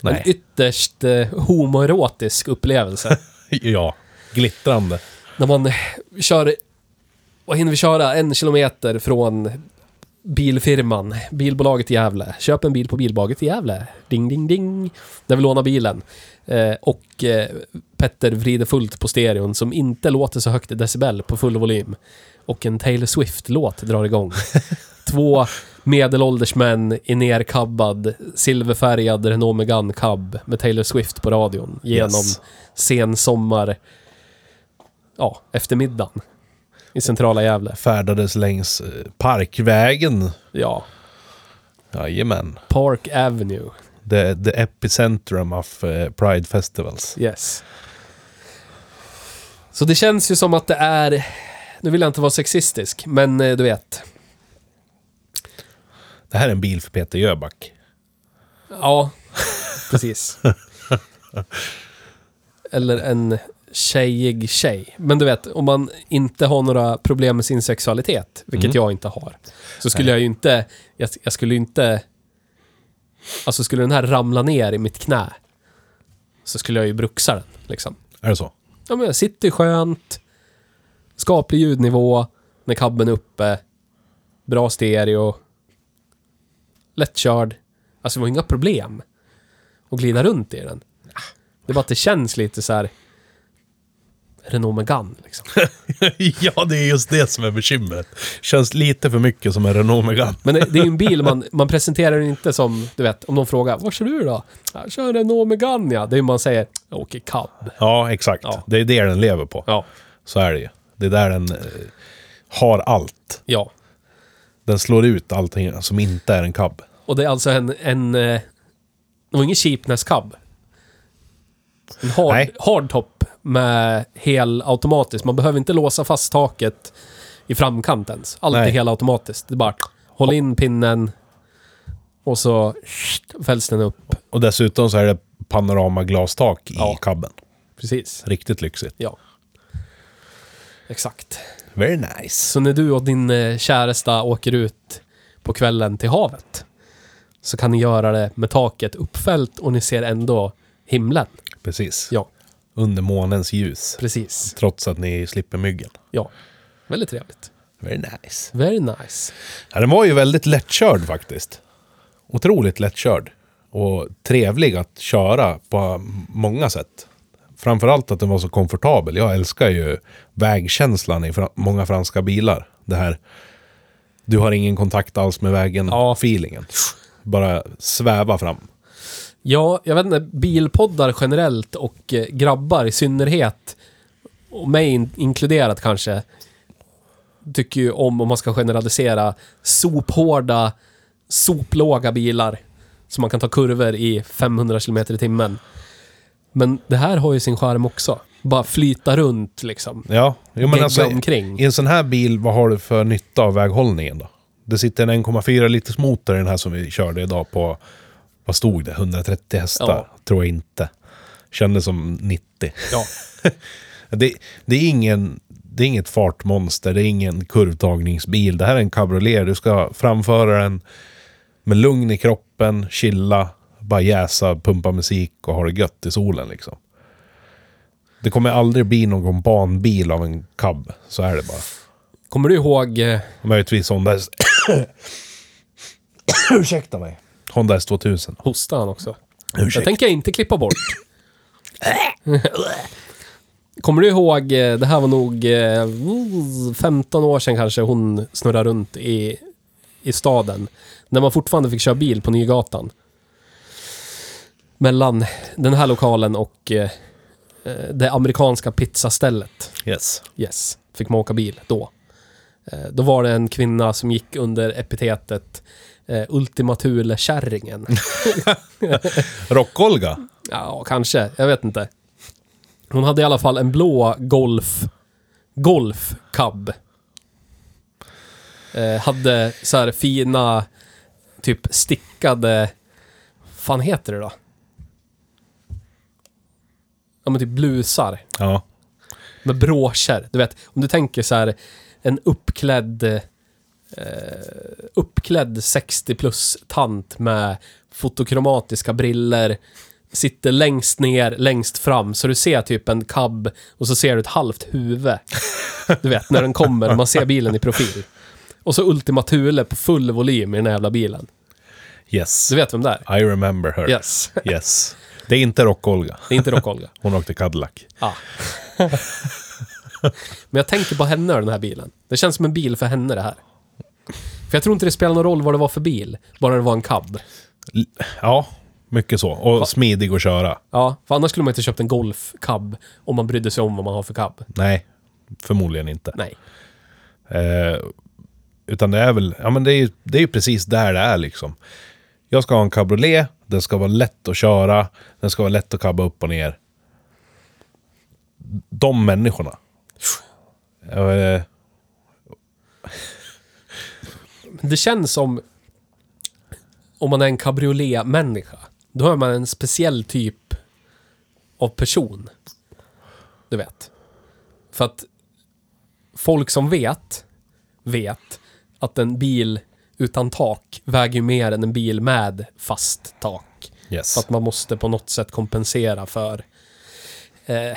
Speaker 1: Nej.
Speaker 2: En ytterst eh, homoerotisk upplevelse.
Speaker 1: ja. Glittrande.
Speaker 2: när man eh, kör... Vad hinner vi köra? En kilometer från bilfirman, bilbolaget i Gävle. Köp en bil på bilbolaget i Gävle. Ding, ding, ding. När vi lånar bilen. Eh, och eh, Petter vrider fullt på stereon som inte låter så högt i decibel på full volym. Och en Taylor Swift-låt drar igång. Två medelålders män i nerkabbad, silverfärgad Renault Megane cab med Taylor Swift på radion genom
Speaker 1: Yes.
Speaker 2: sen sommar, ja, eftermiddagen i centrala Gävle.
Speaker 1: Färdades längs eh, Parkvägen.
Speaker 2: Ja,
Speaker 1: Jajamän.
Speaker 2: Park Avenue.
Speaker 1: The, the epicentrum of eh, Pride Festivals.
Speaker 2: Yes. Så det känns ju som att det är... Nu vill jag inte vara sexistisk, men eh, du vet.
Speaker 1: Det här är en bil för Peter Jöback.
Speaker 2: Ja, precis. Eller en tjejig tjej. Men du vet, om man inte har några problem med sin sexualitet, vilket jag inte har, så skulle jag ju inte... Jag, jag skulle ju inte... Alltså skulle den här ramla ner i mitt knä, så skulle jag ju bruxa den, liksom.
Speaker 1: Är det så?
Speaker 2: Ja, men jag sitter skönt. Skaplig ljudnivå när kabben är uppe. Bra stereo. Lättkörd. Alltså det var inga problem att glida runt i den. Det är bara att det känns lite så här Renault Megane liksom.
Speaker 1: ja, det är just det som är bekymret. Känns lite för mycket som en Renault Megane.
Speaker 2: Men det det är ju en bil man, man presenterar den inte som, du vet, om någon frågar Vad kör du då? Jag kör en Renault Megane ja. Det är ju man säger, jag åker cab.
Speaker 1: Ja, exakt.
Speaker 2: Ja.
Speaker 1: Det är det den lever på.
Speaker 2: Ja.
Speaker 1: Så är det ju. Det är där den eh, har allt.
Speaker 2: Ja.
Speaker 1: Den slår ut allting som inte är en cab.
Speaker 2: Och det är alltså en... en eh, det var ingen cheapness cab. En hard,
Speaker 1: Nej.
Speaker 2: hardtop med helautomatiskt. Man behöver inte låsa fast taket i framkant ens. Allt är
Speaker 1: Nej.
Speaker 2: helautomatiskt. Det är bara håll in pinnen och så fälls den upp.
Speaker 1: Och dessutom så är det panoramaglastak i
Speaker 2: Ja.
Speaker 1: cabben.
Speaker 2: Precis.
Speaker 1: Riktigt lyxigt.
Speaker 2: Ja. Exakt.
Speaker 1: Very nice.
Speaker 2: Så när du och din eh, käresta åker ut på kvällen till havet så kan ni göra det med taket uppfällt och ni ser ändå himlen.
Speaker 1: Precis.
Speaker 2: Ja,
Speaker 1: Under månens ljus.
Speaker 2: precis.
Speaker 1: Trots att ni slipper myggen.
Speaker 2: Ja. Väldigt trevligt.
Speaker 1: Very nice.
Speaker 2: Very nice.
Speaker 1: Ja, den var ju väldigt lättkörd faktiskt. Otroligt lättkörd. Och trevlig att köra på många sätt. Framförallt att den var så komfortabel. Jag älskar ju vägkänslan i fra- många franska bilar. Det här, du har ingen kontakt alls med
Speaker 2: Ja.
Speaker 1: vägen-feelingen. Bara sväva fram.
Speaker 2: Ja, jag vet inte, bilpoddar generellt och eh, grabbar i synnerhet, och mig in inkluderat kanske, tycker ju om, om man ska generalisera, sophårda, soplåga bilar Så man kan ta kurvor i 500 km i timmen. Men det här har ju sin charm också. Bara flyta runt liksom.
Speaker 1: Ja, jo, men
Speaker 2: Gegga
Speaker 1: alltså,
Speaker 2: omkring.
Speaker 1: i en sån här bil, vad har du för nytta av väghållningen då? Det sitter en 1,4 liters motor i den här som vi körde idag på, vad stod det, 130 hästar?
Speaker 2: Ja.
Speaker 1: Tror jag inte. Kändes som 90.
Speaker 2: Ja.
Speaker 1: Det, det, är ingen, det är inget fartmonster, det är ingen kurvtagningsbil. Det här är en cabriolet. Du ska framföra den med lugn i kroppen, chilla, bara jäsa, pumpa musik och ha det gött i solen liksom. Det kommer aldrig bli någon banbil av en cab, så är det bara.
Speaker 2: Kommer du ihåg... eh,
Speaker 1: Möjligtvis Honda S... Ursäkta mig. Honda S2000.
Speaker 2: Hostar han också?
Speaker 1: Ursäkta.
Speaker 2: Jag tänker inte klippa bort. Kommer du ihåg, eh, det här var nog eh, 15 år sedan kanske hon snurrade runt i, i staden. När man fortfarande fick köra bil på Nygatan. Mellan den här lokalen och eh, eh, det amerikanska pizzastället.
Speaker 1: Yes.
Speaker 2: Yes, fick man åka bil då. Eh, Då var det en kvinna som gick under epitetet eh, Ultima Thule-kärringen.
Speaker 1: Rock-Olga.
Speaker 2: Ja, kanske. Jag vet inte. Hon hade i alla fall en blå Golf... Golf Cub. Eh, hade så här fina, typ stickade... fan heter det då? Ja, men typ blusar.
Speaker 1: Ja.
Speaker 2: Med broscher. Du vet, om du tänker så här en uppklädd... Eh, uppklädd 60 plus tant med fotokromatiska briller Sitter längst ner, längst fram, så du ser typ en cab och så ser du ett halvt huvud. Du vet, när den kommer, man ser bilen i profil. Och så Ultima Thule på full volym i den här jävla bilen.
Speaker 1: Yes.
Speaker 2: Du vet vem det är?
Speaker 1: I remember her.
Speaker 2: Yes.
Speaker 1: Yes. Det är inte Rock-Olga.
Speaker 2: Det är inte Rock-Olga.
Speaker 1: Hon åkte Cadillac.
Speaker 2: Ah. Men jag tänker på henne och den här bilen. Det känns som en bil för henne det här. För jag tror inte det spelar någon roll vad det var för bil, bara det var en cab.
Speaker 1: L- Ja, mycket så. Och smidig att köra.
Speaker 2: Ja, för annars skulle man inte köpt en Golf cab om man brydde sig om vad man har för cab.
Speaker 1: Nej, förmodligen inte.
Speaker 2: Nej.
Speaker 1: Eh, utan det är väl, ja men det är ju det är ju precis där det är liksom. Jag ska ha en cabriolet, den ska vara lätt att köra, den ska vara lätt att kabba upp och ner. De människorna. Eh,
Speaker 2: Det känns som om man är en cabriolet-människa. Då är man en speciell typ av person. Du vet. För att folk som vet, vet att en bil utan tak väger ju mer än en bil med fast tak.
Speaker 1: yes.
Speaker 2: Så att man måste på något sätt kompensera för eh,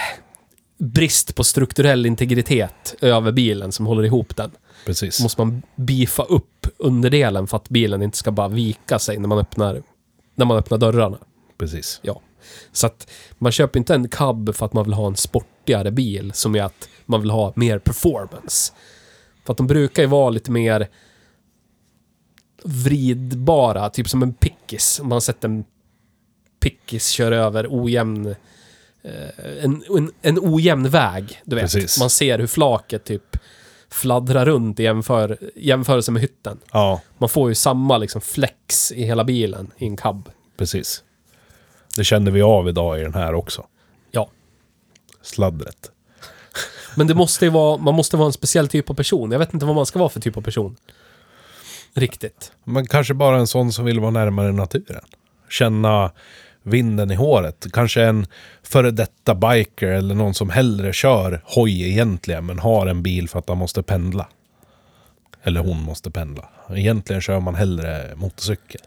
Speaker 2: brist på strukturell integritet över bilen som håller ihop den.
Speaker 1: Precis.
Speaker 2: Så måste man beefa upp underdelen för att bilen inte ska bara vika sig när man öppnar, när man öppnar dörrarna.
Speaker 1: precis.
Speaker 2: Ja. Så att man köper inte en cab för att man vill ha en sportigare bil som är att man vill ha mer performance. För att de brukar ju vara lite mer vridbara, typ som en pickis. Om man har sett en pickis köra över ojämn eh, en, en, en ojämn väg, du vet.
Speaker 1: Precis.
Speaker 2: Man ser hur flaket typ fladdrar runt i jämför, jämförelse med hytten.
Speaker 1: Ja,
Speaker 2: Man får ju samma liksom flex i hela bilen i en cab.
Speaker 1: precis. Det kände vi av idag i den här också.
Speaker 2: Ja.
Speaker 1: Sladdret.
Speaker 2: Men det måste ju vara, man måste vara en speciell typ av person. Jag vet inte vad man ska vara för typ av person. Riktigt.
Speaker 1: Men kanske bara en sån som vill vara närmare naturen. Känna vinden i håret. Kanske en före detta biker eller någon som hellre kör hoj egentligen men har en bil för att han måste pendla. Eller hon måste pendla. Egentligen kör man hellre motorcykel.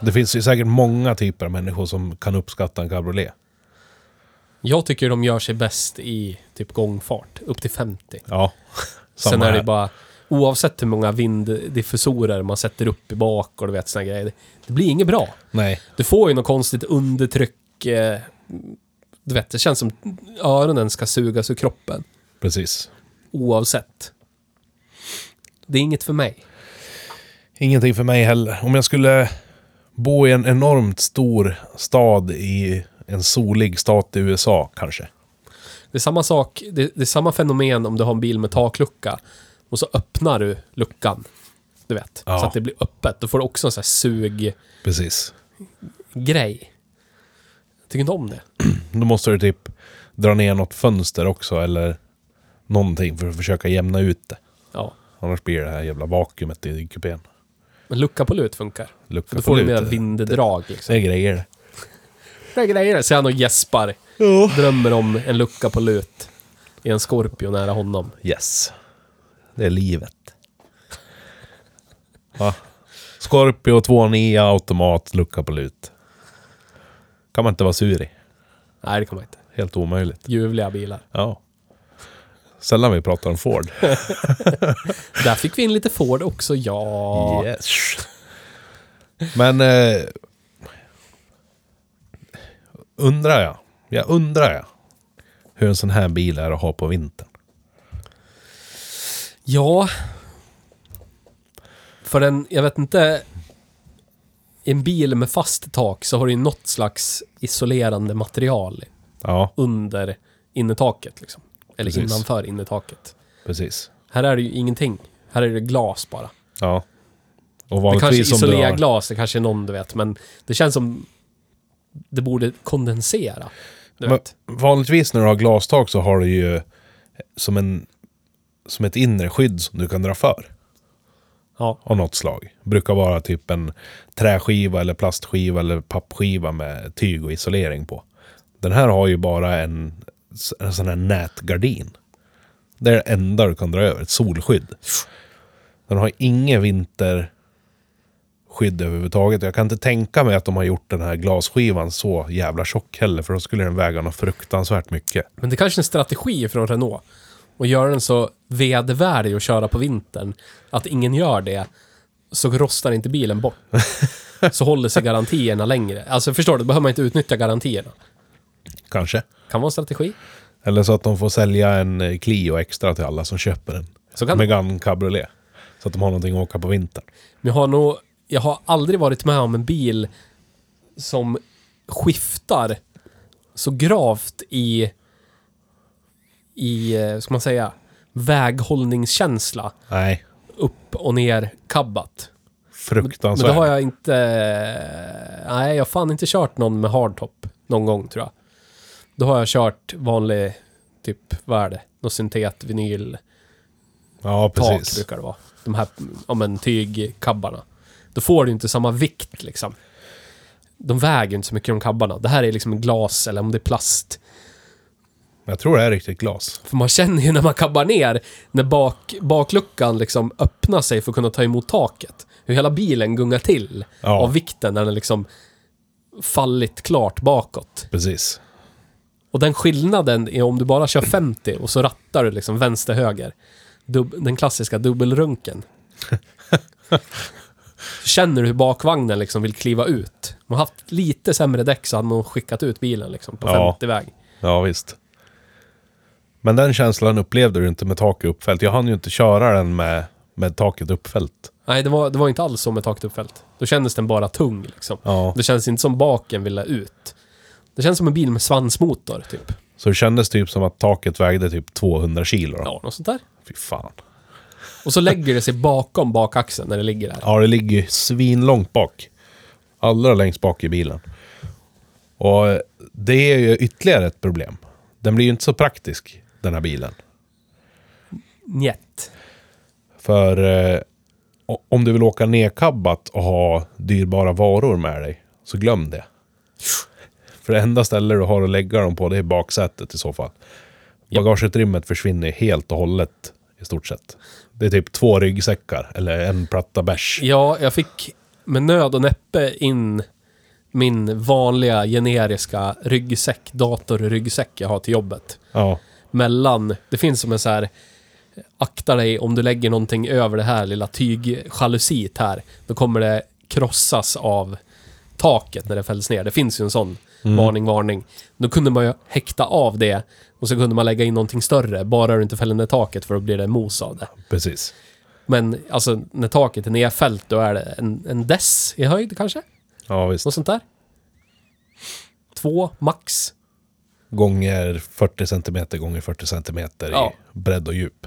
Speaker 1: Det finns ju säkert många typer av människor som kan uppskatta en cabriolet.
Speaker 2: Jag tycker de gör sig bäst i typ gångfart, upp till 50.
Speaker 1: Ja. Samma
Speaker 2: Sen är det
Speaker 1: här.
Speaker 2: bara, oavsett hur många vinddiffusorer man sätter upp i bak och du vet såna grejer. det- Det blir inget bra.
Speaker 1: Nej.
Speaker 2: Du får ju något konstigt undertryck. Eh, du vet, det känns som öronen ska sugas ur kroppen.
Speaker 1: Precis.
Speaker 2: Oavsett. Det är inget för mig.
Speaker 1: Ingenting för mig heller. Om jag skulle bo i en enormt stor stad i en solig stat i USA kanske.
Speaker 2: Det är samma sak, det, det är samma fenomen om du har en bil med taklucka och så öppnar du luckan. du vet.
Speaker 1: Ja.
Speaker 2: Så att det blir öppet. Då får du också en sån här suggrej.
Speaker 1: Precis.
Speaker 2: Jag tycker inte om det.
Speaker 1: Då måste du typ dra ner något fönster också eller någonting för att försöka jämna ut det.
Speaker 2: Ja.
Speaker 1: Annars blir det här jävla vakuumet i kupén.
Speaker 2: Men lucka på lut funkar. För
Speaker 1: Lucka
Speaker 2: då får du
Speaker 1: på
Speaker 2: mera
Speaker 1: lutet.
Speaker 2: vinddrag liksom.
Speaker 1: Det är grejer det.
Speaker 2: Det är grejer. Så han och gäspar. Drömmer om en lucka på lut. I en Scorpio nära honom.
Speaker 1: Yes. Det är livet. Va? Scorpio 2.9 automat, lucka på lut. Kan man inte vara sur i.
Speaker 2: Nej, det kommer jag inte.
Speaker 1: Helt omöjligt.
Speaker 2: Ljuvliga bilar.
Speaker 1: Ja. Sällan vi pratar om Ford.
Speaker 2: Där fick vi in lite Ford också, ja.
Speaker 1: Yes. Men... Eh, undrar jag. Jag undrar jag. Hur en sån här bil är att ha på vintern.
Speaker 2: Ja. För en, jag vet inte. i En bil med fast tak så har du ju något slags isolerande material
Speaker 1: Ja,
Speaker 2: under innertaket liksom. Eller
Speaker 1: Precis.
Speaker 2: innanför innertaket.
Speaker 1: precis.
Speaker 2: Här är det ju ingenting. Här är det glas bara.
Speaker 1: Ja. Och
Speaker 2: Det kanske
Speaker 1: vanligtvis om du
Speaker 2: isolerar
Speaker 1: har...
Speaker 2: glas, det kanske är någon du vet, men det känns som det borde kondensera. Du
Speaker 1: Men
Speaker 2: vet.
Speaker 1: vanligtvis när du har glastak så har du ju som, en, som ett inre skydd som du kan dra för.
Speaker 2: Ja.
Speaker 1: Av något slag. Brukar vara typ en träskiva eller plastskiva eller pappskiva med tyg och isolering på. Den här har ju bara en, en sån här nätgardin. Det är det enda du kan dra över. Ett solskydd. Den har inget vinterskydd överhuvudtaget. Jag kan inte tänka mig att de har gjort den här glasskivan så jävla tjock heller. För då skulle den väga något fruktansvärt mycket.
Speaker 2: Men det kanske är en strategi från Renault. Att göra den så vedervärdig att köra på vintern. Att ingen gör det, så rostar inte bilen bort. Så håller sig garantierna längre. Alltså förstår du, då behöver man inte utnyttja garantierna.
Speaker 1: Kanske.
Speaker 2: Kan vara en strategi.
Speaker 1: Eller så att de får sälja en eh, Clio extra till alla som köper den.
Speaker 2: Så kan det.
Speaker 1: Megane Cabriolet. Så att de har någonting att åka på vintern.
Speaker 2: Men jag har nog, jag har aldrig varit med om en bil som skiftar så gravt i, i, eh, ska man säga, väghållningskänsla
Speaker 1: Nej,
Speaker 2: upp och ner kabbat. Men
Speaker 1: fruktansvärt.
Speaker 2: då har jag inte... Nej, jag har fan inte kört någon med hardtop någon gång tror jag. Då har jag kört vanlig, typ, vad är det? Någon syntet, vinyl,
Speaker 1: Ja,
Speaker 2: tak
Speaker 1: precis.
Speaker 2: brukar det vara. De här, ja men tygkabbarna. Då får du ju inte samma vikt liksom. De väger ju inte så mycket de kabbarna. Det här är liksom glas eller om det är plast.
Speaker 1: Jag tror det är riktigt glas.
Speaker 2: För man känner ju när man kabbar ner, när bak, bakluckan liksom öppnar sig för att kunna ta emot taket. Hur hela bilen gungar till
Speaker 1: Ja.
Speaker 2: av vikten när den liksom fallit klart bakåt.
Speaker 1: Precis.
Speaker 2: Och den skillnaden är om du bara kör 50 och så rattar du liksom vänster-höger. Dub- den klassiska dubbelrunken. så känner du hur bakvagnen liksom vill kliva ut. Om man haft lite sämre däck så hade man skickat ut bilen liksom på
Speaker 1: Ja.
Speaker 2: 50-väg.
Speaker 1: Ja, visst. Men den känslan upplevde du inte med taket uppfällt. Jag hann ju inte köra den med, med taket uppfällt.
Speaker 2: Nej, det var, det var inte alls så med taket uppfällt. Då kändes den bara tung liksom.
Speaker 1: Ja.
Speaker 2: Det känns inte som baken ville ut. Det känns som en bil med svansmotor, typ.
Speaker 1: Så det kändes typ som att taket vägde typ 200 kilo. Då.
Speaker 2: Ja, något sånt där.
Speaker 1: Fy fan.
Speaker 2: Och så lägger det sig bakom bakaxeln när det ligger där.
Speaker 1: Ja, det ligger ju svinlångt bak. Allra längst bak i bilen. Och eh, det är ju ytterligare ett problem. Den blir ju inte så praktisk, den här bilen.
Speaker 2: Njet.
Speaker 1: För eh, o- om du vill åka nedkabbat och ha dyrbara varor med dig, så glöm det. För det enda stället du har att lägga dem på, det är baksätet i så fall. Bagageutrymmet försvinner helt och hållet, i stort sett. Det är typ två ryggsäckar, eller en platta bärs.
Speaker 2: Ja, jag fick med nöd och näppe in min vanliga generiska ryggsäck, datorryggsäck jag har till jobbet.
Speaker 1: Ja,
Speaker 2: Mellan, det finns som en så här, akta dig om du lägger någonting över det här lilla tygjalusiet här, då kommer det krossas av taket när det fälls ner. Det finns ju en sån varning, varning. Då kunde man ju häkta av det och så kunde man lägga in någonting större, bara du inte fäller ner taket för då blir det mos av det.
Speaker 1: precis.
Speaker 2: Men alltså när taket är nedfällt då är det en, en dess i höjd kanske?
Speaker 1: Ja, visst.
Speaker 2: Något sånt där? Två max?
Speaker 1: gånger 40 centimeter gånger 40 centimeter
Speaker 2: Ja.
Speaker 1: i bredd och djup.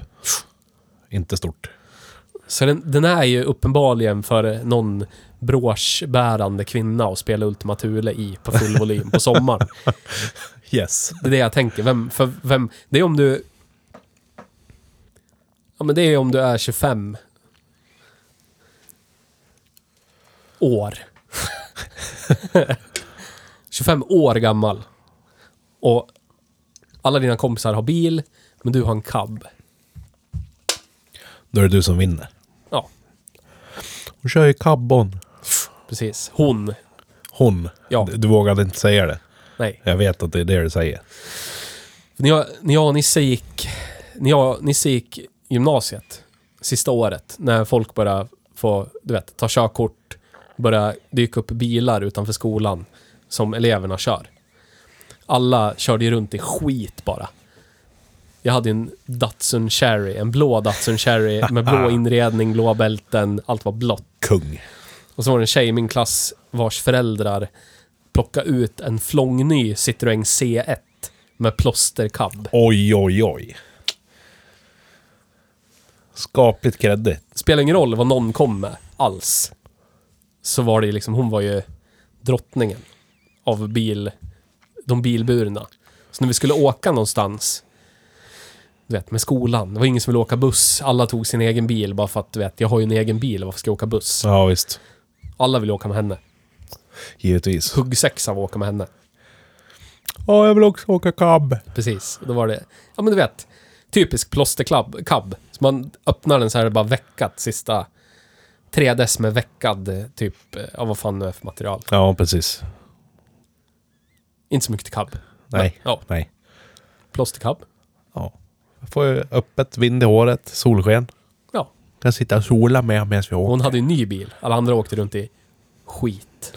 Speaker 1: Inte stort.
Speaker 2: Så den, den är ju uppenbarligen för någon broschbärande kvinna att spela Ultima Thule i på full volym på sommaren.
Speaker 1: Yes.
Speaker 2: Det är det jag tänker. Vem, för vem, det är om du... Ja, men det är om du är 25 år. 25 år gammal. Och alla dina kompisar har bil, men du har en cab.
Speaker 1: Då är det du som vinner.
Speaker 2: Ja,
Speaker 1: Hon kör ju cabbon.
Speaker 2: precis. Hon.
Speaker 1: Hon.
Speaker 2: Ja.
Speaker 1: Du, du vågade inte säga det.
Speaker 2: Nej.
Speaker 1: Jag vet att det är det du säger.
Speaker 2: När jag, när jag och Nisse gick, när jag, och Nisse gick gymnasiet, sista året, när folk började få, du vet, ta körkort, började dyka upp bilar utanför skolan som eleverna kör. Alla körde ju runt i skit bara. Jag hade en Datsun Cherry, en blå Datsun Cherry med blå inredning, blåa bälten, allt var blått.
Speaker 1: Kung.
Speaker 2: Och så var det en tjej i min klass vars föräldrar plockade ut en flångny Citroën C1 med plåsterkabb.
Speaker 1: Oj, oj, oj. Skapligt kreddigt.
Speaker 2: spelar ingen roll vad någon kom med alls. Så var det ju liksom, hon var ju drottningen av bil, de bilburna. Så när vi skulle åka någonstans, du vet, med skolan, det var ingen som ville åka buss. Alla tog sin egen bil bara för att, du vet, jag har ju en egen bil, varför ska jag åka buss?
Speaker 1: Ja, visst.
Speaker 2: Alla ville åka med henne.
Speaker 1: Givetvis.
Speaker 2: Huggsex av att åka med henne.
Speaker 1: Ja, jag vill också åka cab.
Speaker 2: Precis, då var det, ja men du vet, typisk plåsterkabb. kabb. Så man öppnar den så här, det är bara veckat sista 3DS med veckad, eh, typ, eh, ja vad fan nu är för material.
Speaker 1: Ja, precis.
Speaker 2: Inte så mycket till cab.
Speaker 1: Nej.
Speaker 2: Ja,
Speaker 1: Nej.
Speaker 2: plåstercab.
Speaker 1: Ja. Jag får ju öppet, vind i håret, solsken.
Speaker 2: Ja.
Speaker 1: Kan sitta och sola med medan vi
Speaker 2: Och
Speaker 1: åker.
Speaker 2: Hon hade ju en ny bil. Alla andra åkte runt i skit.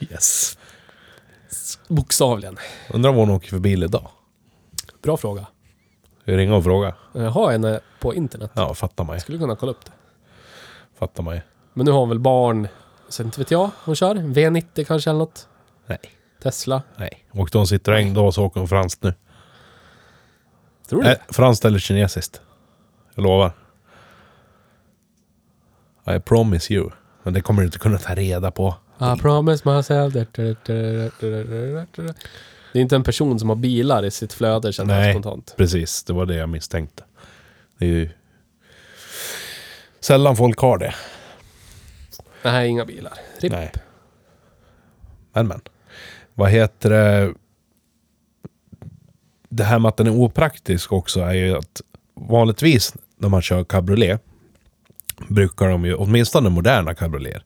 Speaker 1: Yes.
Speaker 2: Bokstavligen.
Speaker 1: Undrar vad hon åker för bil idag.
Speaker 2: Bra fråga.
Speaker 1: Ska jag ringa och fråga?
Speaker 2: Jag har henne på internet.
Speaker 1: Ja, fattar mig.
Speaker 2: Jag skulle kunna kolla upp det.
Speaker 1: Fattar mig.
Speaker 2: Men nu har hon väl barn. Så inte vet jag. Hon kör. En V90 kanske eller något.
Speaker 1: Nej.
Speaker 2: Tesla.
Speaker 1: Nej. Åkte hon Citroën då så åker hon franskt nu.
Speaker 2: Tror du
Speaker 1: Nej,
Speaker 2: det?
Speaker 1: franskt eller kinesiskt. Jag lovar. I promise you. Men det kommer du inte kunna ta reda på.
Speaker 2: I promise myself. Det är inte en person som har bilar i sitt flöde känner jag
Speaker 1: Nej.
Speaker 2: spontant.
Speaker 1: Precis, det var det jag misstänkte. Det är ju... Sällan folk har det.
Speaker 2: Nej, inga bilar. Ripp.
Speaker 1: Nej. Men men. Vad heter det? Det här med att den är opraktisk också är ju att vanligtvis när man kör cabriolet brukar de ju, åtminstone moderna cabrioleter,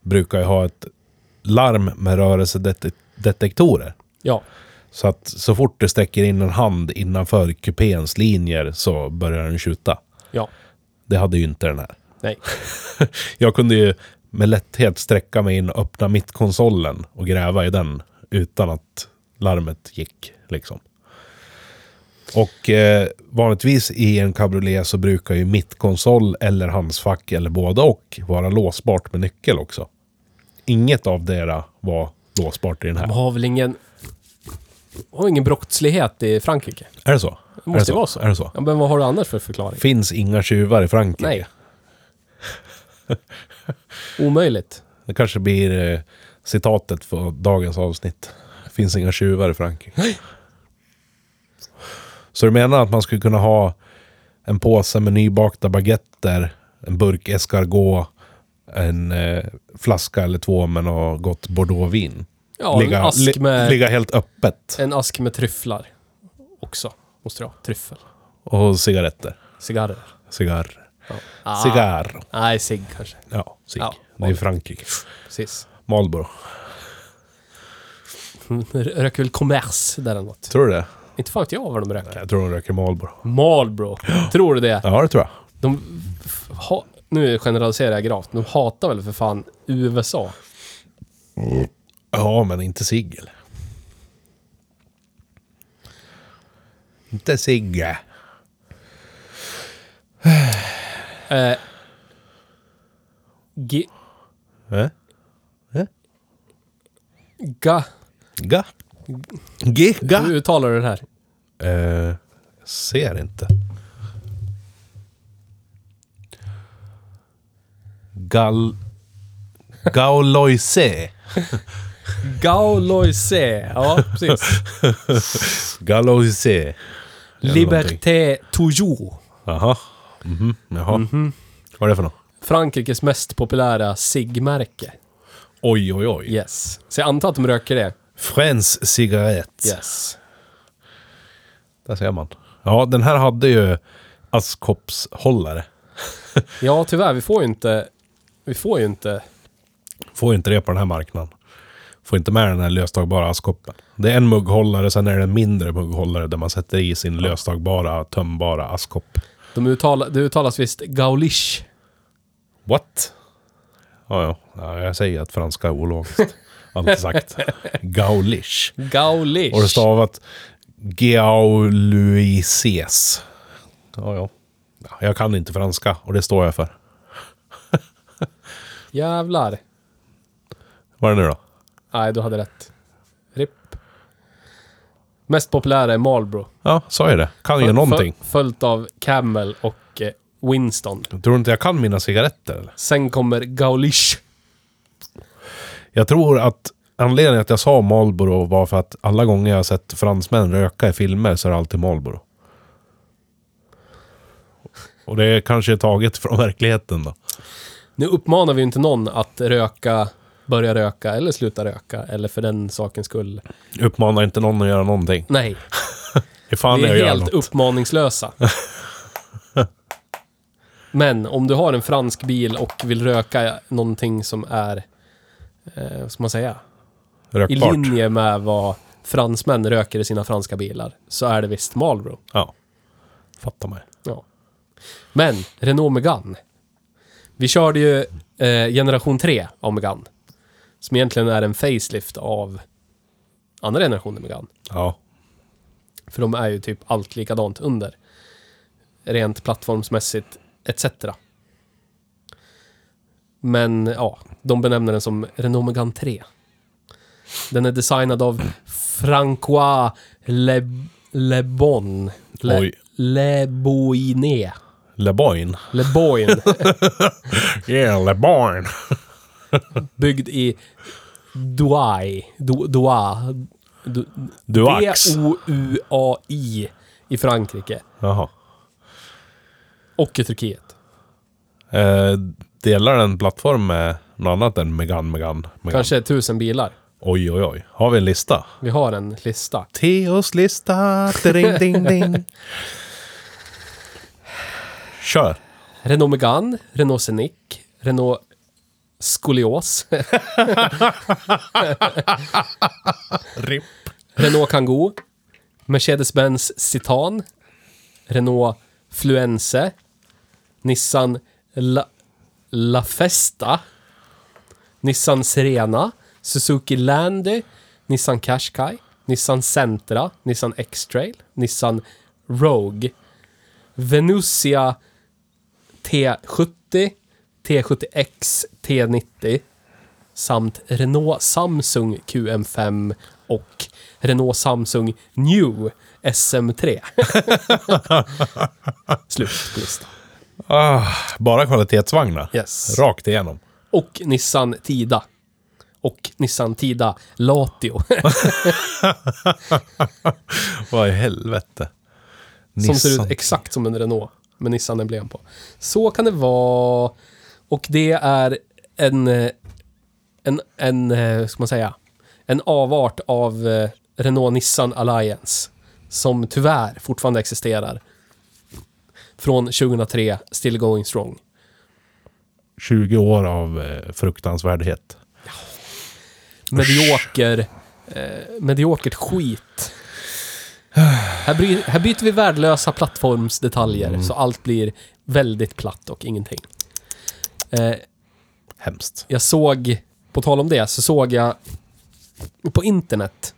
Speaker 1: brukar ju ha ett larm med rörelsedetektorer.
Speaker 2: Ja.
Speaker 1: Så att så fort du sträcker in en hand innanför kupéns linjer så börjar den skjuta.
Speaker 2: Ja.
Speaker 1: Det hade ju inte den här.
Speaker 2: Nej.
Speaker 1: Jag kunde ju med lätthet sträcka mig in och öppna mittkonsolen och gräva i den utan att larmet gick. Liksom. Och eh, vanligtvis i en cabriolet så brukar ju mittkonsol eller handskfack eller båda och vara låsbart med nyckel också. Inget av dera var låsbart i den
Speaker 2: De
Speaker 1: här.
Speaker 2: har väl ingen... De har ingen brottslighet i Frankrike.
Speaker 1: Är det så?
Speaker 2: Det måste
Speaker 1: är
Speaker 2: vara så.
Speaker 1: Är det så?
Speaker 2: Ja, men vad har du annars för förklaring?
Speaker 1: Finns inga tjuvar i Frankrike?
Speaker 2: Nej. Omöjligt.
Speaker 1: Det kanske blir eh, citatet för dagens avsnitt. Det finns inga tjuvar i Frankrike. Så du menar att man skulle kunna ha en påse med nybakta baguetter, en burk escargot, en eh, flaska eller två med något gott bordeauxvin.
Speaker 2: Ja, en ask,
Speaker 1: li-
Speaker 2: med,
Speaker 1: ligga helt öppet.
Speaker 2: en ask med tryfflar också. Måste jag ha. Tryffel.
Speaker 1: Och cigaretter.
Speaker 2: Cigarrer.
Speaker 1: Cigarr.
Speaker 2: Ah,
Speaker 1: Cigarr.
Speaker 2: Nej, cigg kanske.
Speaker 1: Ja, cig.
Speaker 2: Ja,
Speaker 1: det är Frankrike.
Speaker 2: Precis. Mm,
Speaker 1: Marlboro.
Speaker 2: Röker väl kommers där eller något.
Speaker 1: Tror du det?
Speaker 2: Inte fan vet jag vad de röker.
Speaker 1: Jag tror de röker Marlboro.
Speaker 2: Marlboro. Tror du det?
Speaker 1: Ja, det tror jag.
Speaker 2: De... f- Ha, nu generaliserar jag gravt. De hatar väl för fan USA?
Speaker 1: Ja, men inte Sigel. Inte Sigge.
Speaker 2: Eh, G...
Speaker 1: Eh?
Speaker 2: Ga...
Speaker 1: Ga. Giga.
Speaker 2: Hur uttalar du det här?
Speaker 1: Eh, ser inte. Gal... Gauloise.
Speaker 2: Gauloise. Ja, precis.
Speaker 1: Gauloise. Eller någonting.
Speaker 2: Liberté toujours.
Speaker 1: Jaha. Mhm. Jaha. Vad är det för något?
Speaker 2: Frankrikes mest populära ciggmärke.
Speaker 1: Oj, oj, oj.
Speaker 2: Yes. Så jag antar att de röker det.
Speaker 1: Friends cigarett.
Speaker 2: Yes.
Speaker 1: Där ser man. Ja, den här hade ju askkoppshållare.
Speaker 2: Ja, tyvärr. Vi får ju inte... Vi får ju inte...
Speaker 1: Får inte det på den här marknaden. Får inte med den här löstagbara askkoppen. Det är en mugghållare, sen är det en mindre mugghållare där man sätter i sin löstagbara, tömbara askkopp.
Speaker 2: De uttala, det uttalas visst gaulish.
Speaker 1: What? Ja, ja. ja jag säger att franska är ologiskt. Alltid sagt. Gaulish.
Speaker 2: Gaulish.
Speaker 1: Och det stavat Gaulises. Ja, ja. Ja, Jag kan inte franska och det står jag för.
Speaker 2: Jävlar.
Speaker 1: Vad är det nu då?
Speaker 2: Nej, du hade rätt. RIP. Mest populära är Marlboro.
Speaker 1: Ja, sa jag det. Kan ju
Speaker 2: Föl-
Speaker 1: någonting.
Speaker 2: föl- Följt av Camel och eh, Winston.
Speaker 1: Tror du inte jag kan mina cigaretter eller?
Speaker 2: Sen kommer Gaulish.
Speaker 1: Jag tror att anledningen att jag sa Marlboro var för att alla gånger jag har sett fransmän röka i filmer så är det alltid Marlboro. Och det är kanske taget från verkligheten då.
Speaker 2: Nu uppmanar vi ju inte någon att röka, börja röka eller sluta röka. Eller för den sakens skull.
Speaker 1: Uppmanar inte någon att göra någonting.
Speaker 2: Nej,
Speaker 1: Ifall
Speaker 2: vi
Speaker 1: jag
Speaker 2: är
Speaker 1: gör
Speaker 2: helt
Speaker 1: något.
Speaker 2: uppmaningslösa. Men om du har en fransk bil och vill röka någonting som är, eh, vad ska man säga, i
Speaker 1: Rökbart.
Speaker 2: linje med vad fransmän röker i sina franska bilar, så är det visst Marlboro.
Speaker 1: Ja. Fattar mig.
Speaker 2: Ja. Men, Renault Megane. Vi körde ju eh, generation 3 av Megane. Som egentligen är en facelift av andra generationen Megane.
Speaker 1: Ja.
Speaker 2: För de är ju typ allt likadant under. Rent plattformsmässigt etc. Men ja, de benämner den som Renault Megane 3. Den är designad av Francois Le, Le Bon. Le,
Speaker 1: Oj.
Speaker 2: Le Boinet.
Speaker 1: Le Boyne.
Speaker 2: Le Boin.
Speaker 1: Yeah, Le Boyne.
Speaker 2: byggd i Douai. Do- Doua. Do-
Speaker 1: Duax.
Speaker 2: D-O-U-A-I i Frankrike
Speaker 1: Jaha.
Speaker 2: och i Turkiet.
Speaker 1: Eh, delar den plattform med något annat än Megan, Megan, Megan?
Speaker 2: Kanske tusen bilar.
Speaker 1: Oj, oj, oj. Har vi en lista?
Speaker 2: Vi har en lista.
Speaker 1: Teos lista. Ding, ding, ding. Kör.
Speaker 2: Renault Megane, Renault Scenic, Renault Skolios,
Speaker 1: RIP.
Speaker 2: Renault Kangoo, Mercedes-Benz Citan, Renault Fluence, Nissan La, La Festa, Nissan Serena, Suzuki Landy, Nissan Qashqai, Nissan Sentra, Nissan X-Trail, Nissan Rogue, Venusia T70, T70X, T90 samt Renault Samsung QM5 och Renault Samsung New SM3. Slut på listan.
Speaker 1: Ah, bara kvalitetsvagnar.
Speaker 2: Yes.
Speaker 1: Rakt igenom.
Speaker 2: Och Nissan Tida. Och Nissan Tida Latio.
Speaker 1: Vad i helvete.
Speaker 2: som
Speaker 1: Nissan.
Speaker 2: ser ut exakt som en Renault med Nissan-emblem på. Så kan det vara. Och det är en, eh, en, en eh, vad ska man säga, en avart av eh, Renault-Nissan Alliance. Som tyvärr fortfarande existerar. Från 2003, still going strong.
Speaker 1: 20 år av eh, fruktansvärdhet.
Speaker 2: Medioker, eh, mediokert skit. Här, bry, här byter vi värdelösa plattformsdetaljer så allt blir väldigt platt och ingenting. Eh,
Speaker 1: Hemskt.
Speaker 2: jag såg, på tal om det, så såg jag på internet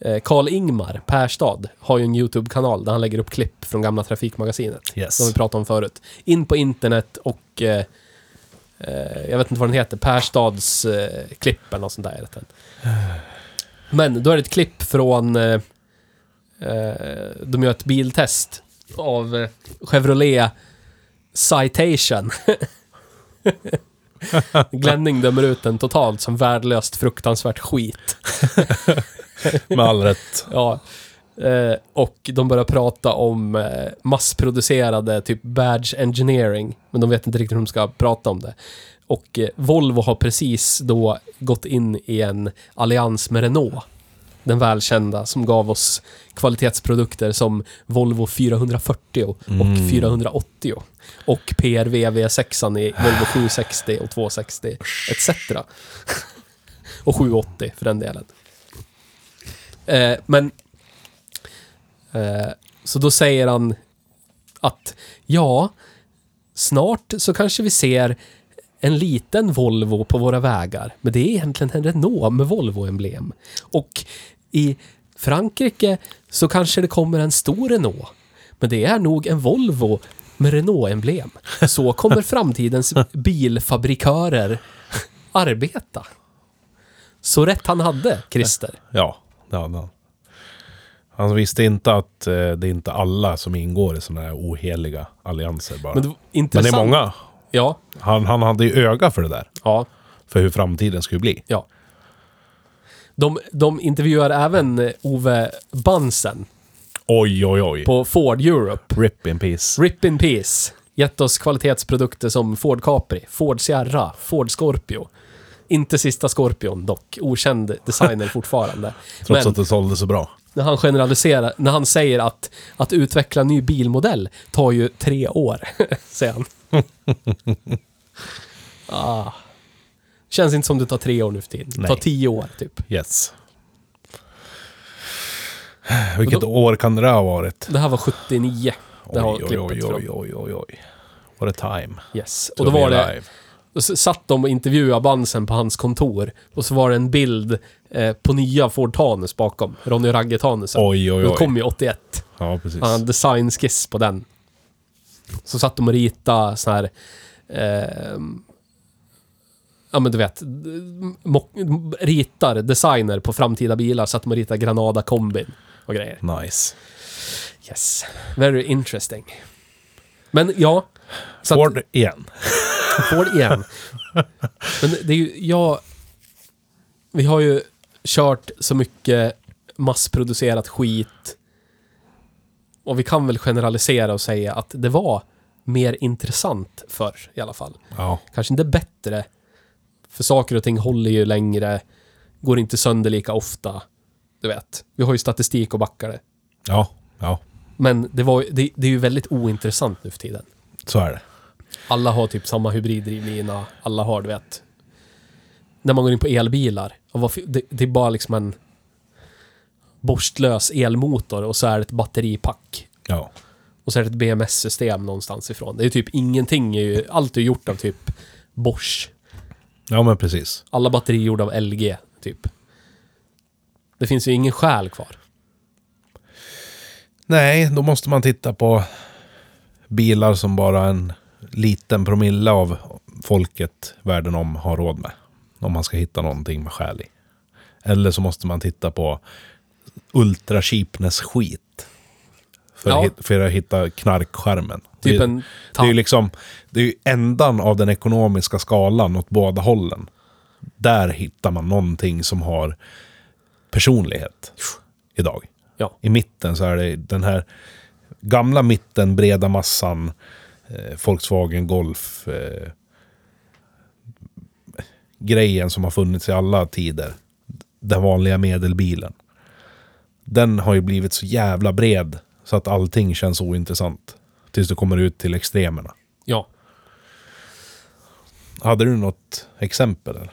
Speaker 2: eh, Karl Ingmar Perstad har ju en YouTube-kanal där han lägger upp klipp från gamla Trafikmagasinet.
Speaker 1: Yes.
Speaker 2: Som vi pratade om förut. In på internet och eh, eh, jag vet inte vad den heter, Perstads eh, klipp eller något sånt där. heter den. Men då är det ett klipp från eh, eh, de gör ett biltest av eh, Chevrolet Citation. Glenning dömer ut den totalt som värdelöst fruktansvärt skit.
Speaker 1: Med all rätt.
Speaker 2: Ja. Eh, och de börjar prata om eh, massproducerade typ badge engineering. Men de vet inte riktigt hur de ska prata om det. Och eh, Volvo har precis då gått in i en allians med Renault. Den välkända som gav oss kvalitetsprodukter som Volvo 440 och 480. Och PRV V6 i Volvo 760 och 260 etc. och 780 för den delen. Eh, men... Eh, så då säger han att ja, snart så kanske vi ser en liten Volvo på våra vägar. Men det är egentligen en Renault med Volvo-emblem. Och i Frankrike så kanske det kommer en stor Renault. Men det är nog en Volvo med Renault-emblem. Så kommer framtidens bilfabrikörer arbeta. Så rätt han hade, Christer.
Speaker 1: Ja, det hade han. Han visste inte att eh, det är inte alla som ingår i sådana här oheliga allianser bara. Men
Speaker 2: Men det,
Speaker 1: det,
Speaker 2: var intressant.
Speaker 1: är många.
Speaker 2: Ja,
Speaker 1: Han, han hade ju öga för det där.
Speaker 2: ja,
Speaker 1: För hur framtiden skulle bli.
Speaker 2: ja. De, de intervjuar även eh, Ove Bansen
Speaker 1: Oj, oj, oj.
Speaker 2: på Ford Europe.
Speaker 1: Rip in peace.
Speaker 2: Rip in peace. Gett oss kvalitetsprodukter som Ford Capri, Ford Sierra, Ford Scorpio. Inte sista Scorpion dock. Okänd designer fortfarande.
Speaker 1: Trots
Speaker 2: Men-
Speaker 1: att det sålde så bra.
Speaker 2: när han generaliserar, när han säger att att utveckla en ny bilmodell tar ju tre år, säger han. ah. Känns inte som det tar tre år nu för tiden. Det tar
Speaker 1: Nej.
Speaker 2: tio år, typ.
Speaker 1: Yes. Vilket år kan det där ha varit?
Speaker 2: Det här var 79. Det här
Speaker 1: Oj, oj,
Speaker 2: klippet
Speaker 1: oj,
Speaker 2: från.
Speaker 1: oj, oj, oj, oj. What a time.
Speaker 2: Yes.
Speaker 1: to
Speaker 2: Och då
Speaker 1: be
Speaker 2: var det,
Speaker 1: alive.
Speaker 2: då s- satt de och intervjuade Bansen på hans kontor. Och så var det en bild eh, på nya Ford Tanus bakom. Ronny och Ragge Tanusen.
Speaker 1: Oj, oj,
Speaker 2: Den
Speaker 1: oj.
Speaker 2: kom ju 81.
Speaker 1: Ja, precis.
Speaker 2: Han hade designskiss på den. Så satt de och ritade sån här... ehm, ja men du vet. d- mock- Ritar designer på framtida bilar. Satt de och ritade Granada kombin och grejer.
Speaker 1: Nice.
Speaker 2: Yes. Very interesting. Men ja. Så
Speaker 1: Ford igen.
Speaker 2: Att, Ford igen. Men det är ju, jag... Vi har ju kört så mycket massproducerat skit. Och vi kan väl generalisera och säga att det var mer intressant förr i alla fall.
Speaker 1: Ja.
Speaker 2: Kanske inte bättre. För saker och ting håller ju längre. Går inte sönder lika ofta. Du vet. Vi har ju statistik och backa det.
Speaker 1: Ja, ja.
Speaker 2: Men det, var, ju- det, det är ju väldigt ointressant nu för tiden.
Speaker 1: Så är det.
Speaker 2: Alla har typ samma hybriddrivlina. Alla har, du vet. När man går in på elbilar. och varför- Det, det är bara liksom en borstlös elmotor och så är det ett batteripack.
Speaker 1: Ja.
Speaker 2: Och så är det ett BMS-system någonstans ifrån. Det är typ ingenting. Är ju, allt är gjort av typ Bosch.
Speaker 1: Ja, men precis.
Speaker 2: Alla batterier gjorda av LG, typ. Det finns ju ingen själ kvar.
Speaker 1: Nej, då måste man titta på bilar som bara en liten promille av folket världen om har råd med. Om man ska hitta någonting med skäl i. Eller så måste man titta på ultra cheapness skit. För,
Speaker 2: Ja.
Speaker 1: att, hit- för att hitta knarkskärmen.
Speaker 2: Typ
Speaker 1: det,
Speaker 2: en
Speaker 1: det är ju
Speaker 2: tapp.
Speaker 1: liksom det är ju ändan av den ekonomiska skalan åt båda hållen. Där hittar man någonting som har personlighet idag.
Speaker 2: Ja.
Speaker 1: I mitten så är det den här gamla mitten, breda massan, eh, Volkswagen Golf. Eh, grejen som har funnits i alla tider. Den vanliga medelbilen. Den har ju blivit så jävla bred så att allting känns ointressant. Tills du kommer ut till extremerna.
Speaker 2: Ja.
Speaker 1: Hade du något exempel? Eller?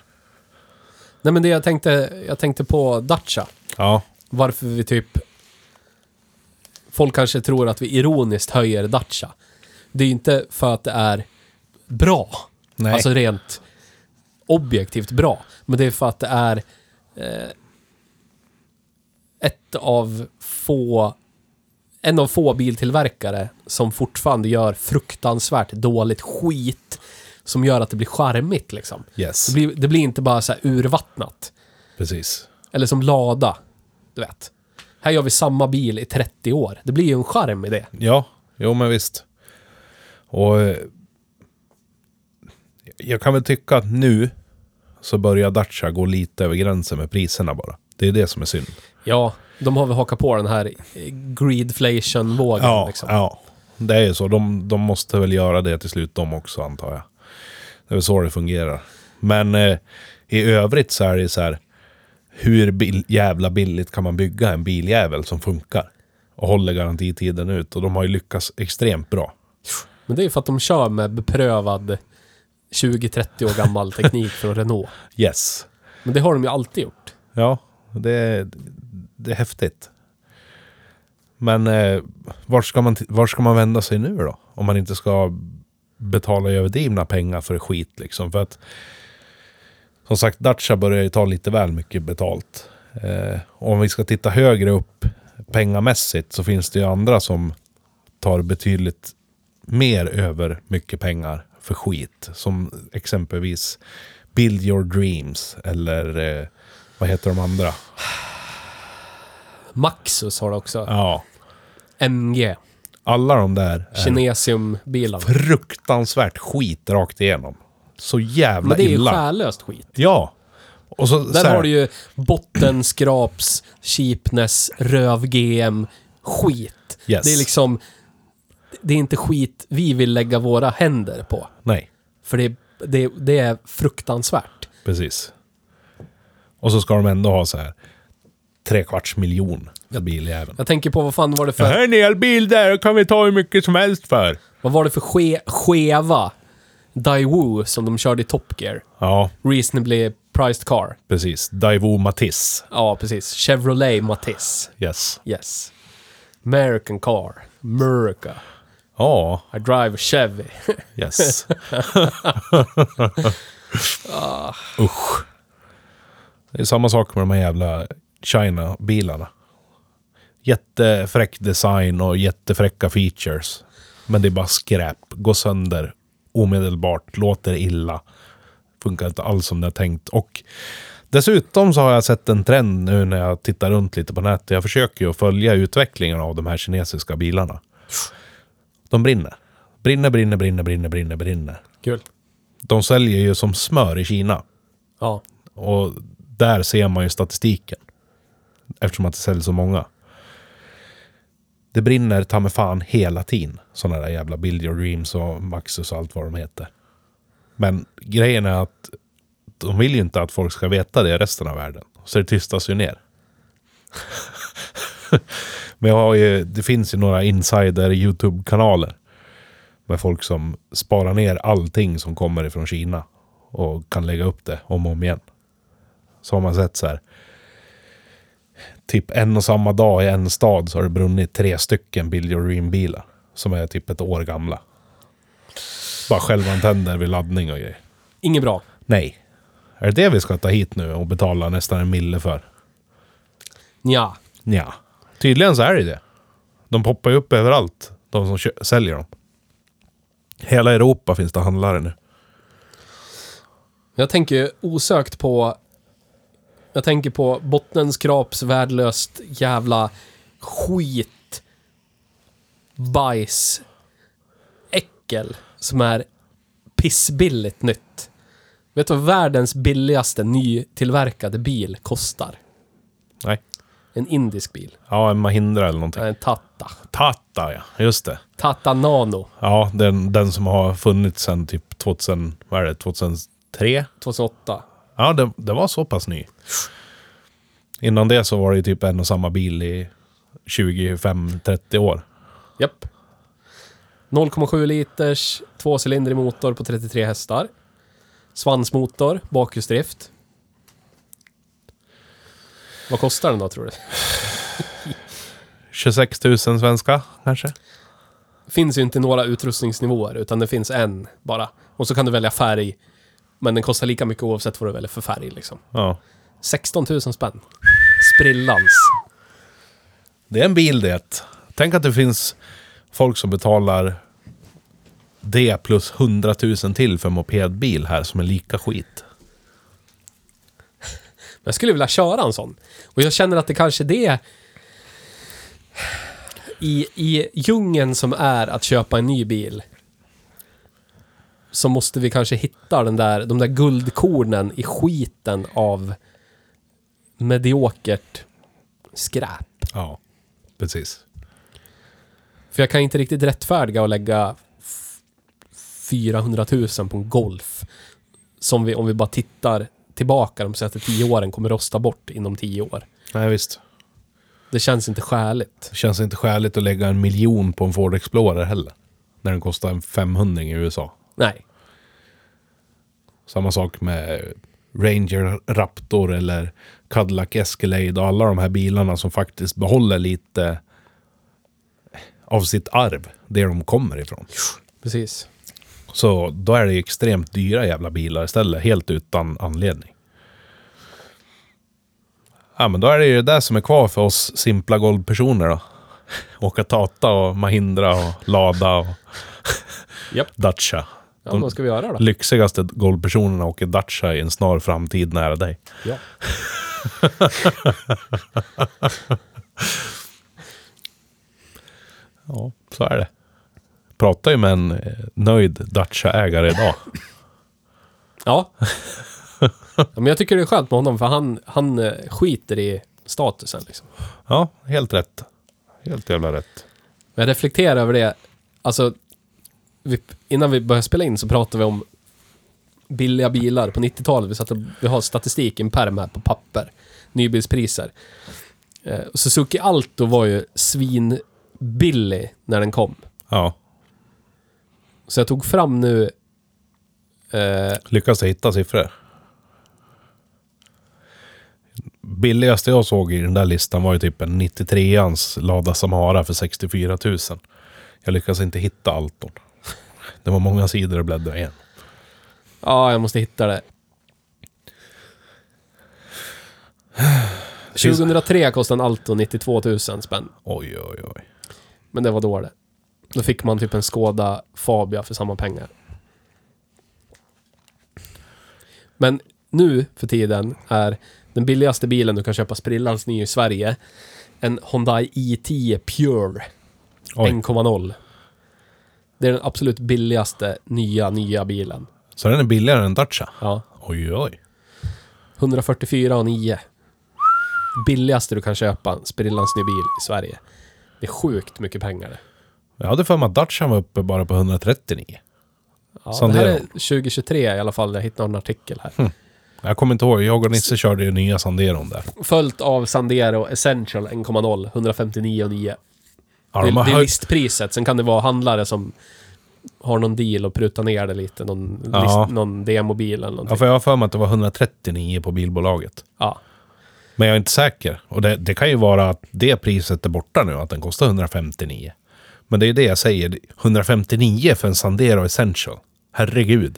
Speaker 2: Nej men det jag tänkte, jag tänkte på Dacia.
Speaker 1: Ja.
Speaker 2: varför vi typ... Folk kanske tror att vi ironiskt höjer Dacia. Det är ju inte för att det är bra.
Speaker 1: Nej.
Speaker 2: Alltså rent objektivt bra. Men det är för att det är eh, ett av få... En av få biltillverkare som fortfarande gör fruktansvärt dåligt skit som gör att det blir charmigt liksom.
Speaker 1: Yes.
Speaker 2: Det, blir, det blir inte bara så här urvattnat.
Speaker 1: Precis.
Speaker 2: Eller som Lada. Du vet. Här gör vi samma bil i 30 år. Det blir ju en charm i det.
Speaker 1: Ja, jo men visst. Och eh, Jag kan väl tycka att nu så börjar Dacia gå lite över gränsen med priserna bara. Det är det som är synd.
Speaker 2: Ja, de har väl hakat på den här eh, greedflation-vågen.
Speaker 1: Ja,
Speaker 2: liksom.
Speaker 1: ja. det är ju så. De, de måste väl göra det till slut de också antar jag. Det är väl så det fungerar. Men eh, i övrigt så är det ju så här. Hur bil, jävla billigt kan man bygga en biljävel som funkar? Och håller garantitiden ut. Och de har ju lyckats extremt bra.
Speaker 2: Men det är ju för att de kör med beprövad 20-30 år gammal teknik från Renault.
Speaker 1: Yes.
Speaker 2: Men det har de ju alltid gjort.
Speaker 1: Ja, det, det är häftigt. Men eh, var, ska man, t- var ska man vända sig nu då? Om man inte ska betala överdrivna pengar för skit liksom. För att som sagt, Dacia börjar ju ta lite väl mycket betalt. Eh, och om vi ska titta högre upp pengamässigt så finns det ju andra som tar betydligt mer över mycket pengar för skit. Som exempelvis Build Your Dreams eller eh, vad heter de andra?
Speaker 2: Maxus har det också.
Speaker 1: Ja.
Speaker 2: MG.
Speaker 1: Alla de där är
Speaker 2: Kinesium-bilarna.
Speaker 1: fruktansvärt skit rakt igenom. Så jävla
Speaker 2: Men det är ju
Speaker 1: illa.
Speaker 2: själlöst skit.
Speaker 1: Ja. Och så, så
Speaker 2: Där
Speaker 1: här,
Speaker 2: har du ju bottenskraps, cheapness, röv-GM, skit.
Speaker 1: Yes.
Speaker 2: Det är liksom... Det är inte skit vi vill lägga våra händer på.
Speaker 1: Nej,
Speaker 2: För det, det, det är fruktansvärt.
Speaker 1: precis. Och så ska de ändå ha så här tre kvarts miljon för biljäveln.
Speaker 2: Jag tänker på vad fan var det
Speaker 1: Det
Speaker 2: för...
Speaker 1: här är en elbil där, kan vi ta hur mycket som helst för.
Speaker 2: Vad var det för ske, skeva Daewoo som de körde i Top Gear?
Speaker 1: Ja,
Speaker 2: Reasonably priced car.
Speaker 1: precis. Daewoo Matisse.
Speaker 2: Ja, precis. Chevrolet Matisse.
Speaker 1: Yes.
Speaker 2: Yes. American car. America.
Speaker 1: Ja,
Speaker 2: I drive a Chevy.
Speaker 1: yes. Usch. Det är samma sak med de här jävla China-bilarna. Jättefräck design och jättefräcka features. Men det är bara skräp. Går sönder omedelbart. Låter illa. Funkar inte alls som det är tänkt. Och dessutom så har jag sett en trend nu när jag tittar runt lite på nätet. Jag försöker ju att följa utvecklingen av de här kinesiska bilarna. De brinner. Brinner, brinner, brinner, brinner, brinner, brinner.
Speaker 2: Kul.
Speaker 1: De säljer ju som smör i Kina.
Speaker 2: Ja.
Speaker 1: Och där ser man ju statistiken. Eftersom att det säljs så många. Det brinner ta mig fan hela tiden. Sådana där jävla Build Your Dreams och Maxus och allt vad de heter. Men grejen är att de vill ju inte att folk ska veta det i resten av världen. Så det tystas ju ner. Men jag har ju, det finns ju några insider YouTube-kanaler. Med folk som sparar ner allting som kommer ifrån Kina. Och kan lägga upp det om och om igen. Så har man sett så här. Typ en och samma dag i en stad så har det brunnit tre stycken Build Your Dream-bilar. Som är typ ett år gamla. Bara självantänder vid laddning och grejer.
Speaker 2: Inget bra.
Speaker 1: Nej. Är det det vi ska ta hit nu och betala nästan en mille för?
Speaker 2: Ja.
Speaker 1: Ja. Tydligen så är det det. De poppar ju upp överallt, de som kö- säljer dem. Hela Europa finns det handlare nu.
Speaker 2: Jag tänker ju osökt på... Jag tänker på bottenskraps, värdelöst jävla skit, bajs, äckel som är pissbilligt nytt. Vet du vad världens billigaste nytillverkade bil kostar?
Speaker 1: Nej.
Speaker 2: En indisk bil.
Speaker 1: Ja, en Mahindra eller någonting.
Speaker 2: En Tata.
Speaker 1: Tata, ja. Just det.
Speaker 2: Tata Nano.
Speaker 1: Ja, den, den som har funnits sedan typ 2000, vad är det, 2003?
Speaker 2: 2008.
Speaker 1: Ja, den, den var så pass ny. Innan det så var det ju typ en och samma bil i 25-30 år.
Speaker 2: Japp. 0,7 liters tvåcylindrig motor på 33 hästar. Svansmotor, bakhjulsdrift. Vad kostar den då tror du?
Speaker 1: 26 000 svenska, kanske?
Speaker 2: Finns ju inte några utrustningsnivåer utan det finns en bara. Och så kan du välja färg. Men den kostar lika mycket oavsett vad du väljer för färg liksom.
Speaker 1: Ja.
Speaker 2: 16 000 spänn. Sprillans.
Speaker 1: Det är en bil det. Tänk att det finns folk som betalar det plus 100 000 till för en mopedbil här som är lika skit.
Speaker 2: Men jag skulle vilja köra en sån. Och jag känner att det kanske är det i, i djungeln som är att köpa en ny bil. så måste vi kanske hitta den där, de där guldkornen i skiten av mediokert skräp.
Speaker 1: Ja, precis.
Speaker 2: För jag kan inte riktigt rättfärdiga att lägga f- 400 000 på en Golf. Som vi, om vi bara tittar tillbaka de senaste 10 åren, kommer rosta bort inom 10 år.
Speaker 1: Nej, visst.
Speaker 2: Det känns inte skäligt.
Speaker 1: Det känns inte skäligt att lägga en miljon på en Ford Explorer heller. När den kostar en 500 i USA.
Speaker 2: Nej.
Speaker 1: Samma sak med Ranger Raptor eller Cadillac Escalade och alla de här bilarna som faktiskt behåller lite av sitt arv, det de kommer ifrån.
Speaker 2: Precis.
Speaker 1: Så då är det ju extremt dyra jävla bilar istället, helt utan anledning. Ja, men då är det ju det där som är kvar för oss simpla golvpersoner då. Åka Tata och Mahindra och Lada och
Speaker 2: Japp.
Speaker 1: Dacia.
Speaker 2: Ja, men vad ska vi göra då?
Speaker 1: Lyxigaste golvpersonerna åker Dacia i en snar framtid nära dig.
Speaker 2: Ja.
Speaker 1: Ja, så är det. Pratar ju med en eh, nöjd Dacia-ägare idag.
Speaker 2: Ja. ja. Men jag tycker det är skönt med honom, för han, han eh, skiter i statusen liksom.
Speaker 1: Ja, helt rätt. Helt jävla rätt.
Speaker 2: Men Jag reflekterar över det. Alltså, vi, innan vi började spela in så pratade vi om billiga bilar på 90-talet. Vi, satt och, vi har statistik i en pärm här på papper. Nybilspriser. Eh, och Suzuki Alto var ju svinbillig när den kom.
Speaker 1: Ja,
Speaker 2: Så jag tog fram nu... Eh,
Speaker 1: lyckas jag hitta siffror. Billigaste jag såg i den där listan var ju typ en 93ans Lada Samara för 64 000. Jag lyckas inte hitta Alton. Det var många sidor att bläddra igen.
Speaker 2: ja, jag måste hitta det. 2003 kostade en Alto 92 000 spänn.
Speaker 1: Oj, oj, oj.
Speaker 2: Men det var då det. Då fick man typ en Skoda Fabia för samma pengar. Men nu för tiden är den billigaste bilen du kan köpa sprillans ny i Sverige en Hyundai i10 Pure
Speaker 1: oj.
Speaker 2: 1.0. Det är den absolut billigaste nya, nya bilen.
Speaker 1: Så den är billigare än Dacia?
Speaker 2: Ja.
Speaker 1: Oj, oj.
Speaker 2: 144 och 9. Billigaste du kan köpa sprillans ny bil i Sverige. Det är sjukt mycket pengar det.
Speaker 1: Jag hade för mig att Dacia var uppe bara på 139.
Speaker 2: Ja,
Speaker 1: Som
Speaker 2: det här
Speaker 1: det är.
Speaker 2: är 2023 i alla fall. Jag hittade en artikel här.
Speaker 1: Hm. Jag kommer inte ihåg. Jag och Nisse körde ju nya Sanderon där.
Speaker 2: Följt av Sandero Essential 1.0, 159,9.
Speaker 1: Ja,
Speaker 2: det,
Speaker 1: de har
Speaker 2: det är
Speaker 1: höj-
Speaker 2: listpriset. Sen kan det vara handlare som har någon deal och prutar ner det lite. Någon,
Speaker 1: Ja.
Speaker 2: list, någon demobil eller
Speaker 1: ja,
Speaker 2: någonting.
Speaker 1: för jag har för mig att det var 139 på bilbolaget.
Speaker 2: Ja.
Speaker 1: Men jag är inte säker. Och det, det kan ju vara att det priset är borta nu, att den kostar 159. Men det är det jag säger. 159 för en Sandero Essential. Herregud.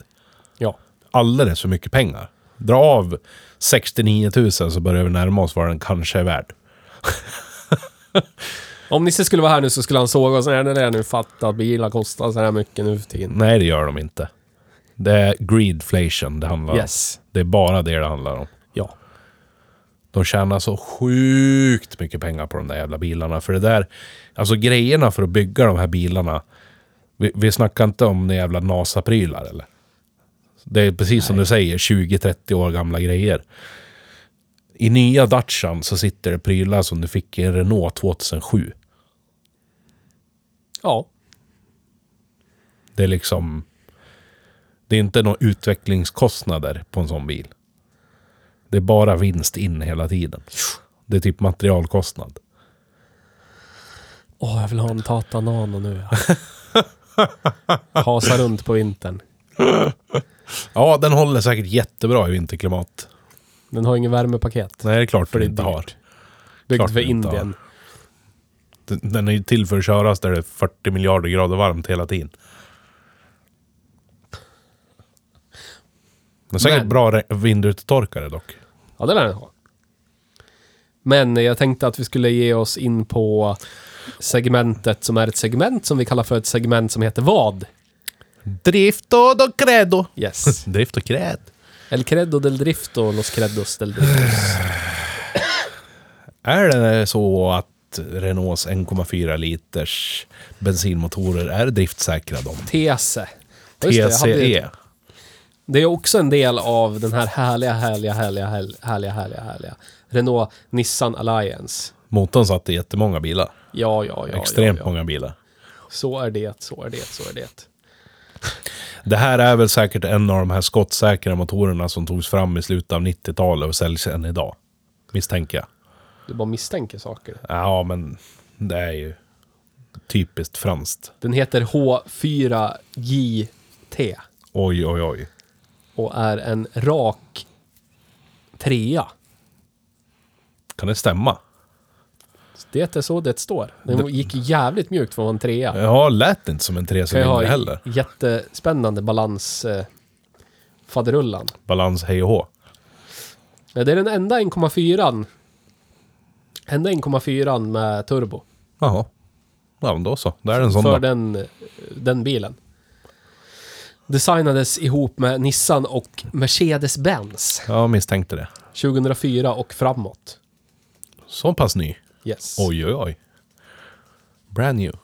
Speaker 2: ja.
Speaker 1: Alldeles för mycket pengar. Dra av 69 000 så börjar vi närma oss vad den kanske är värd.
Speaker 2: Om Nisse skulle vara här nu så skulle han såga oss. Nej, det där nu fattar. Bilar kostar så här mycket nu för tiden.
Speaker 1: Nej, det gör de inte. Det är greedflation det handlar om.
Speaker 2: Yes.
Speaker 1: Det är bara det det handlar om.
Speaker 2: Ja.
Speaker 1: De tjänar så sjukt mycket pengar på de där jävla bilarna. För det där, alltså grejerna för att bygga de här bilarna. Vi, vi snackar inte om de jävla NASA-prylar eller? Det är precis som du säger, 20-30 år gamla grejer. I nya Dacian så sitter det prylar som du fick i en Renault 2007.
Speaker 2: Ja.
Speaker 1: Det är liksom... Det är inte några utvecklingskostnader på en sån bil. Det är bara vinst in hela tiden. Det är typ materialkostnad.
Speaker 2: Åh, jag vill ha en Tata Nano nu. Hasa runt på vintern.
Speaker 1: Ja, den håller säkert jättebra i vinterklimat.
Speaker 2: Den har ingen värmepaket.
Speaker 1: Nej, det är klart för
Speaker 2: det
Speaker 1: det
Speaker 2: är
Speaker 1: inte
Speaker 2: dyrt.
Speaker 1: har.
Speaker 2: Byggd
Speaker 1: klart
Speaker 2: för
Speaker 1: den inte har.
Speaker 2: Indien.
Speaker 1: Den- Den är ju till för att köras där det är 40 miljarder grader varmt hela tiden. Den är säkert
Speaker 2: Men-
Speaker 1: bra re- vindrutetorkare dock.
Speaker 2: Ja, det lär den ha. Men jag tänkte att vi skulle ge oss in på segmentet som är ett segment som vi kallar för ett segment som heter vad?
Speaker 1: Drift och credo.
Speaker 2: Yes.
Speaker 1: Drift och kräd.
Speaker 2: El credo del drifto, los credos del drifto.
Speaker 1: Är det så att Renaults 1,4 liters bensinmotorer är driftsäkra de?
Speaker 2: Tese. just det, jag hade ju-
Speaker 1: TCE.
Speaker 2: Det är också en del av den här härliga, härliga, härliga, härliga, härliga, härliga, härliga. Renault Nissan Alliance.
Speaker 1: Motorn satt i jättemånga bilar.
Speaker 2: Ja, ja, ja.
Speaker 1: Extremt
Speaker 2: ja, ja.
Speaker 1: många bilar.
Speaker 2: Så är det, så är det, så är det.
Speaker 1: Det här är väl säkert en av de här skottsäkra motorerna som togs fram i slutet av 90-talet och säljs än idag. Misstänker jag.
Speaker 2: Du bara misstänker saker.
Speaker 1: Ja, men det är ju typiskt franskt.
Speaker 2: Den heter H4JT
Speaker 1: Oj, oj, oj.
Speaker 2: och är en rak trea.
Speaker 1: Kan det stämma?
Speaker 2: Så Det är så det står. Den gick jävligt mjukt för att vara en trea.
Speaker 1: Ja, lät inte som en
Speaker 2: Kan ju ha
Speaker 1: trecylindrig heller.
Speaker 2: jättespännande balans... Eh, faderullan.
Speaker 1: Balans hej och hå.
Speaker 2: Ja, det är den enda 1,4an. Enda 1,4an med turbo.
Speaker 1: Jaha. Ja, men då så. Där är en sån
Speaker 2: för
Speaker 1: då.
Speaker 2: den, den bilen. Designades ihop med Nissan och Mercedes-Benz
Speaker 1: Ja, misstänkte det.
Speaker 2: 2004 och framåt.
Speaker 1: Så pass ny.
Speaker 2: Yes.
Speaker 1: Oj, oj, oj. Brand new.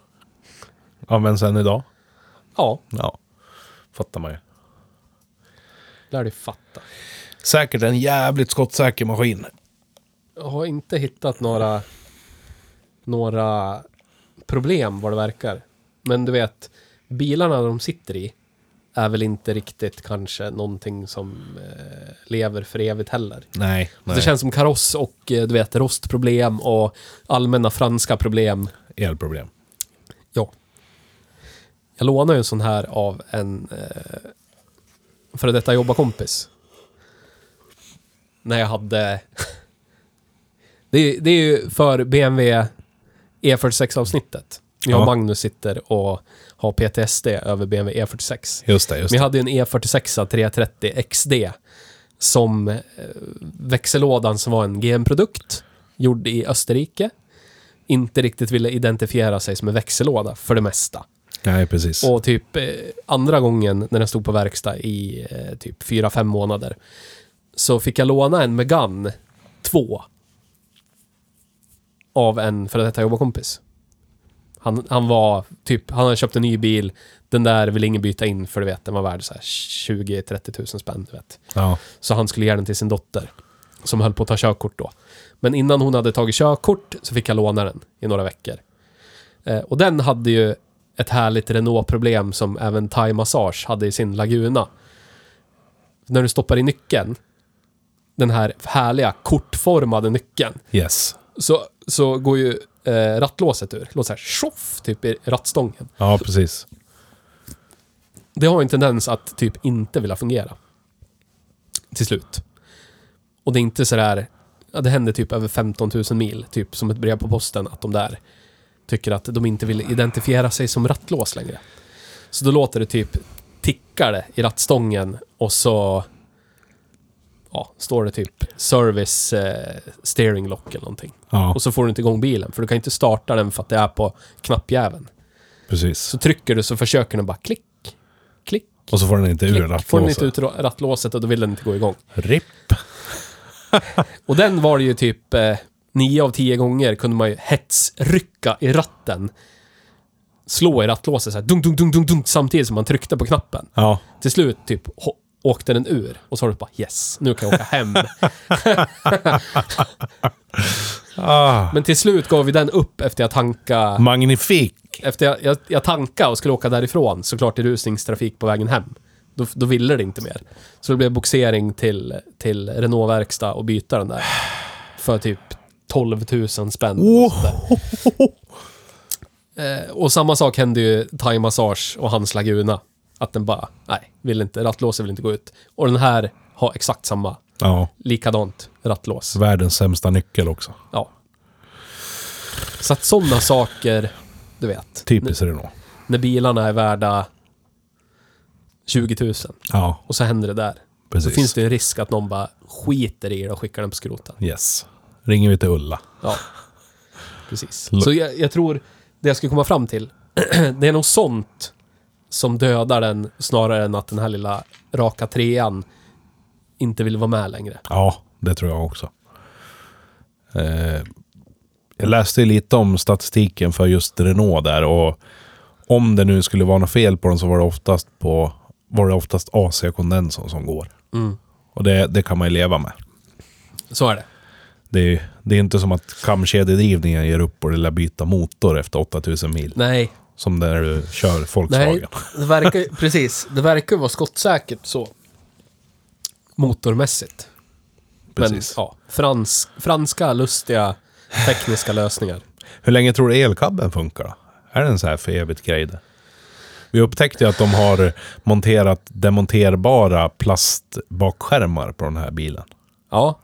Speaker 1: Används än idag?
Speaker 2: Ja,
Speaker 1: Ja. Fattar man ju.
Speaker 2: lär du fatta.
Speaker 1: Säkert en jävligt skottsäker maskin.
Speaker 2: Jag har inte hittat några, några problem vad det verkar. Men du vet, bilarna de sitter i är väl inte riktigt kanske någonting som eh, lever för evigt heller.
Speaker 1: Nej. nej.
Speaker 2: Det känns som kaross och eh, du vet rostproblem och allmänna franska problem.
Speaker 1: Elproblem.
Speaker 2: Ja. Jag lånade ju en sån här av en eh, före detta jobbarkompis. När jag hade... det, är- det är ju för BMW E46-avsnittet. E Jag och
Speaker 1: Ja.
Speaker 2: Magnus sitter och har PTSD över BMW E46.
Speaker 1: Just det, just
Speaker 2: Men
Speaker 1: det.
Speaker 2: jag hade ju en E46 330 XD som eh, växellådan som var en GM-produkt gjord i Österrike inte riktigt ville identifiera sig som en växellåda för det mesta.
Speaker 1: Nej, precis.
Speaker 2: Och typ eh, andra gången när den stod på verkstad i eh, typ 4-5 månader så fick jag låna en Megane 2 av en före detta jobbarkompis. Han, han var typ, han hade köpt en ny bil, den där vill ingen byta in för du vet, den var värd så här 20-30 000 spänn, du vet.
Speaker 1: Ja.
Speaker 2: Så han skulle ge den till sin dotter. Som höll på att ta körkort då. Men innan hon hade tagit körkort så fick jag låna den i några veckor. Eh, och den hade ju ett härligt Renault-problem som även Thai Massage hade i sin Laguna. När du stoppar i nyckeln, den här härliga kortformade nyckeln,
Speaker 1: Yes.
Speaker 2: så, så går ju eh, rattlåset ur. Låter så här tjoff, typ i rattstången.
Speaker 1: Ja, precis.
Speaker 2: Det har ju en tendens att typ inte vilja fungera. Till slut. Och det är inte sådär... Ja, det händer typ över 15 000 mil, typ som ett brev på posten, att de där tycker att de inte vill identifiera sig som rattlås längre. Så då låter det typ tickar det i rattstången och så ja, står det typ service eh, steering lock eller någonting.
Speaker 1: Ja,
Speaker 2: Och så får du inte igång bilen, för du kan inte starta den för att det är på knappjäveln.
Speaker 1: precis.
Speaker 2: Så trycker du så försöker den bara klick, klick,
Speaker 1: Och så får den inte ur
Speaker 2: Klick, får den inte
Speaker 1: rattlåset.
Speaker 2: ut ra- rattlåset och då vill den inte gå igång.
Speaker 1: RIP.
Speaker 2: Och den var det ju typ eh, nio av tio gånger kunde man ju hetsrycka i ratten. Slå i rattlåset så här, dunk, dunk, dunk, dunk, dunk, samtidigt som man tryckte på knappen.
Speaker 1: Ja.
Speaker 2: Till slut typ ho- åkte den ur och så var det bara yes, nu kan jag åka hem.
Speaker 1: Ah.
Speaker 2: Men till slut gav vi den upp efter jag tanka
Speaker 1: Magnifik.
Speaker 2: efter jag, jag, jag tankade och skulle åka därifrån, såklart i rusningstrafik på vägen hem. Då, då ville det inte mer. Så det blev boxering till, till Renault verkstad och byta den där. För typ 12 000 spänn. Och, sånt
Speaker 1: Oh!
Speaker 2: där. Eh, och samma sak hände ju Thai Massage och hans Laguna. Att den bara, nej, vill inte, rattlåset vill inte gå ut. Och den här har exakt samma,
Speaker 1: Ja.
Speaker 2: likadant rattlås.
Speaker 1: Världens sämsta nyckel också.
Speaker 2: Ja. Så att sådana saker, du vet.
Speaker 1: Typiskt Renault.
Speaker 2: när bilarna är värda 20 000
Speaker 1: Ja,
Speaker 2: och så händer det där.
Speaker 1: precis.
Speaker 2: Då finns det ju en risk att någon bara skiter i det och skickar den på skroten.
Speaker 1: Yes. Ringer vi till Ulla.
Speaker 2: Ja, precis.
Speaker 1: Lo-
Speaker 2: Så jag, jag tror det jag ska komma fram till, det är nog sånt som dödar den snarare än att den här lilla raka trean inte vill vara med längre.
Speaker 1: Ja, det tror jag också. Eh, jag läste ju lite om statistiken för just Renault där och om det nu skulle vara något fel på den så var det oftast på var det oftast AC-kondensorn som går.
Speaker 2: Mm.
Speaker 1: Och det, det kan man ju leva med.
Speaker 2: Så är det.
Speaker 1: Det är, det är inte som att kamkedjedrivningen ger upp och det lär byta motor efter 8000 mil.
Speaker 2: Nej,
Speaker 1: Som när du kör
Speaker 2: nej.
Speaker 1: Volkswagen.
Speaker 2: Det verkar, precis. Det verkar vara skottsäkert så. Motormässigt.
Speaker 1: Precis.
Speaker 2: Men, ja, frans, franska lustiga tekniska lösningar.
Speaker 1: Hur länge tror du elkabeln funkar då? Är den så här för evigt grej det? Vi upptäckte ju att de har monterat demonterbara plastbakskärmar på den här bilen.
Speaker 2: Ja,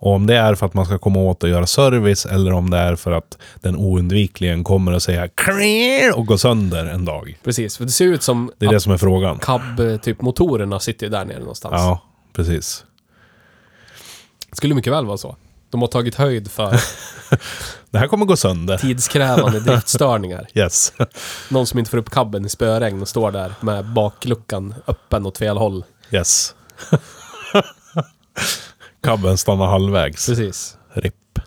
Speaker 1: Och om det är för att man ska komma åt att göra service eller om det är för att den oundvikligen kommer att säga "Kring!" och gå sönder en dag.
Speaker 2: precis. För det ser ut som
Speaker 1: Det är det som är frågan.
Speaker 2: cab, typ motorerna sitter ju där nere någonstans.
Speaker 1: Ja, precis.
Speaker 2: Skulle mycket väl vara så. De har tagit höjd för
Speaker 1: Det här kommer gå sönder.
Speaker 2: tidskrävande driftstörningar.
Speaker 1: Yes.
Speaker 2: Någon som inte får upp kabben i spöregn och står där med bakluckan öppen åt fel håll.
Speaker 1: Yes. Kabben stannar halvvägs.
Speaker 2: Precis.
Speaker 1: RIP.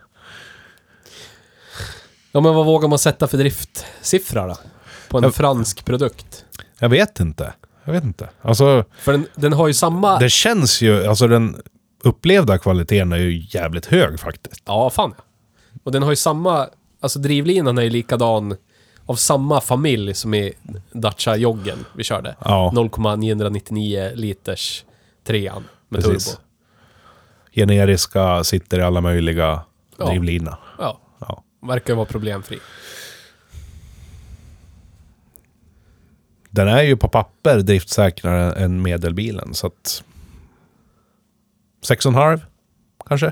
Speaker 2: Ja, men vad vågar man sätta för driftsiffra då? På en
Speaker 1: Ja.
Speaker 2: fransk produkt?
Speaker 1: Jag vet inte. Jag vet inte. Alltså,
Speaker 2: För den, den har ju samma...
Speaker 1: det känns ju... Alltså den upplevda kvaliteten är ju jävligt hög faktiskt.
Speaker 2: Ja, fan ja. Och den har ju samma... Alltså drivlinan är ju likadan av samma familj som i Dacia Joggen vi körde.
Speaker 1: Ja.
Speaker 2: 0,999 liters trean med
Speaker 1: Precis.
Speaker 2: turbo.
Speaker 1: Generiska sitter i alla möjliga
Speaker 2: Ja.
Speaker 1: drivlina.
Speaker 2: Ja,
Speaker 1: Ja.
Speaker 2: verkar vara problemfri.
Speaker 1: Den är ju på papper driftsäkrare än medelbilen, så att... 6,5 kanske?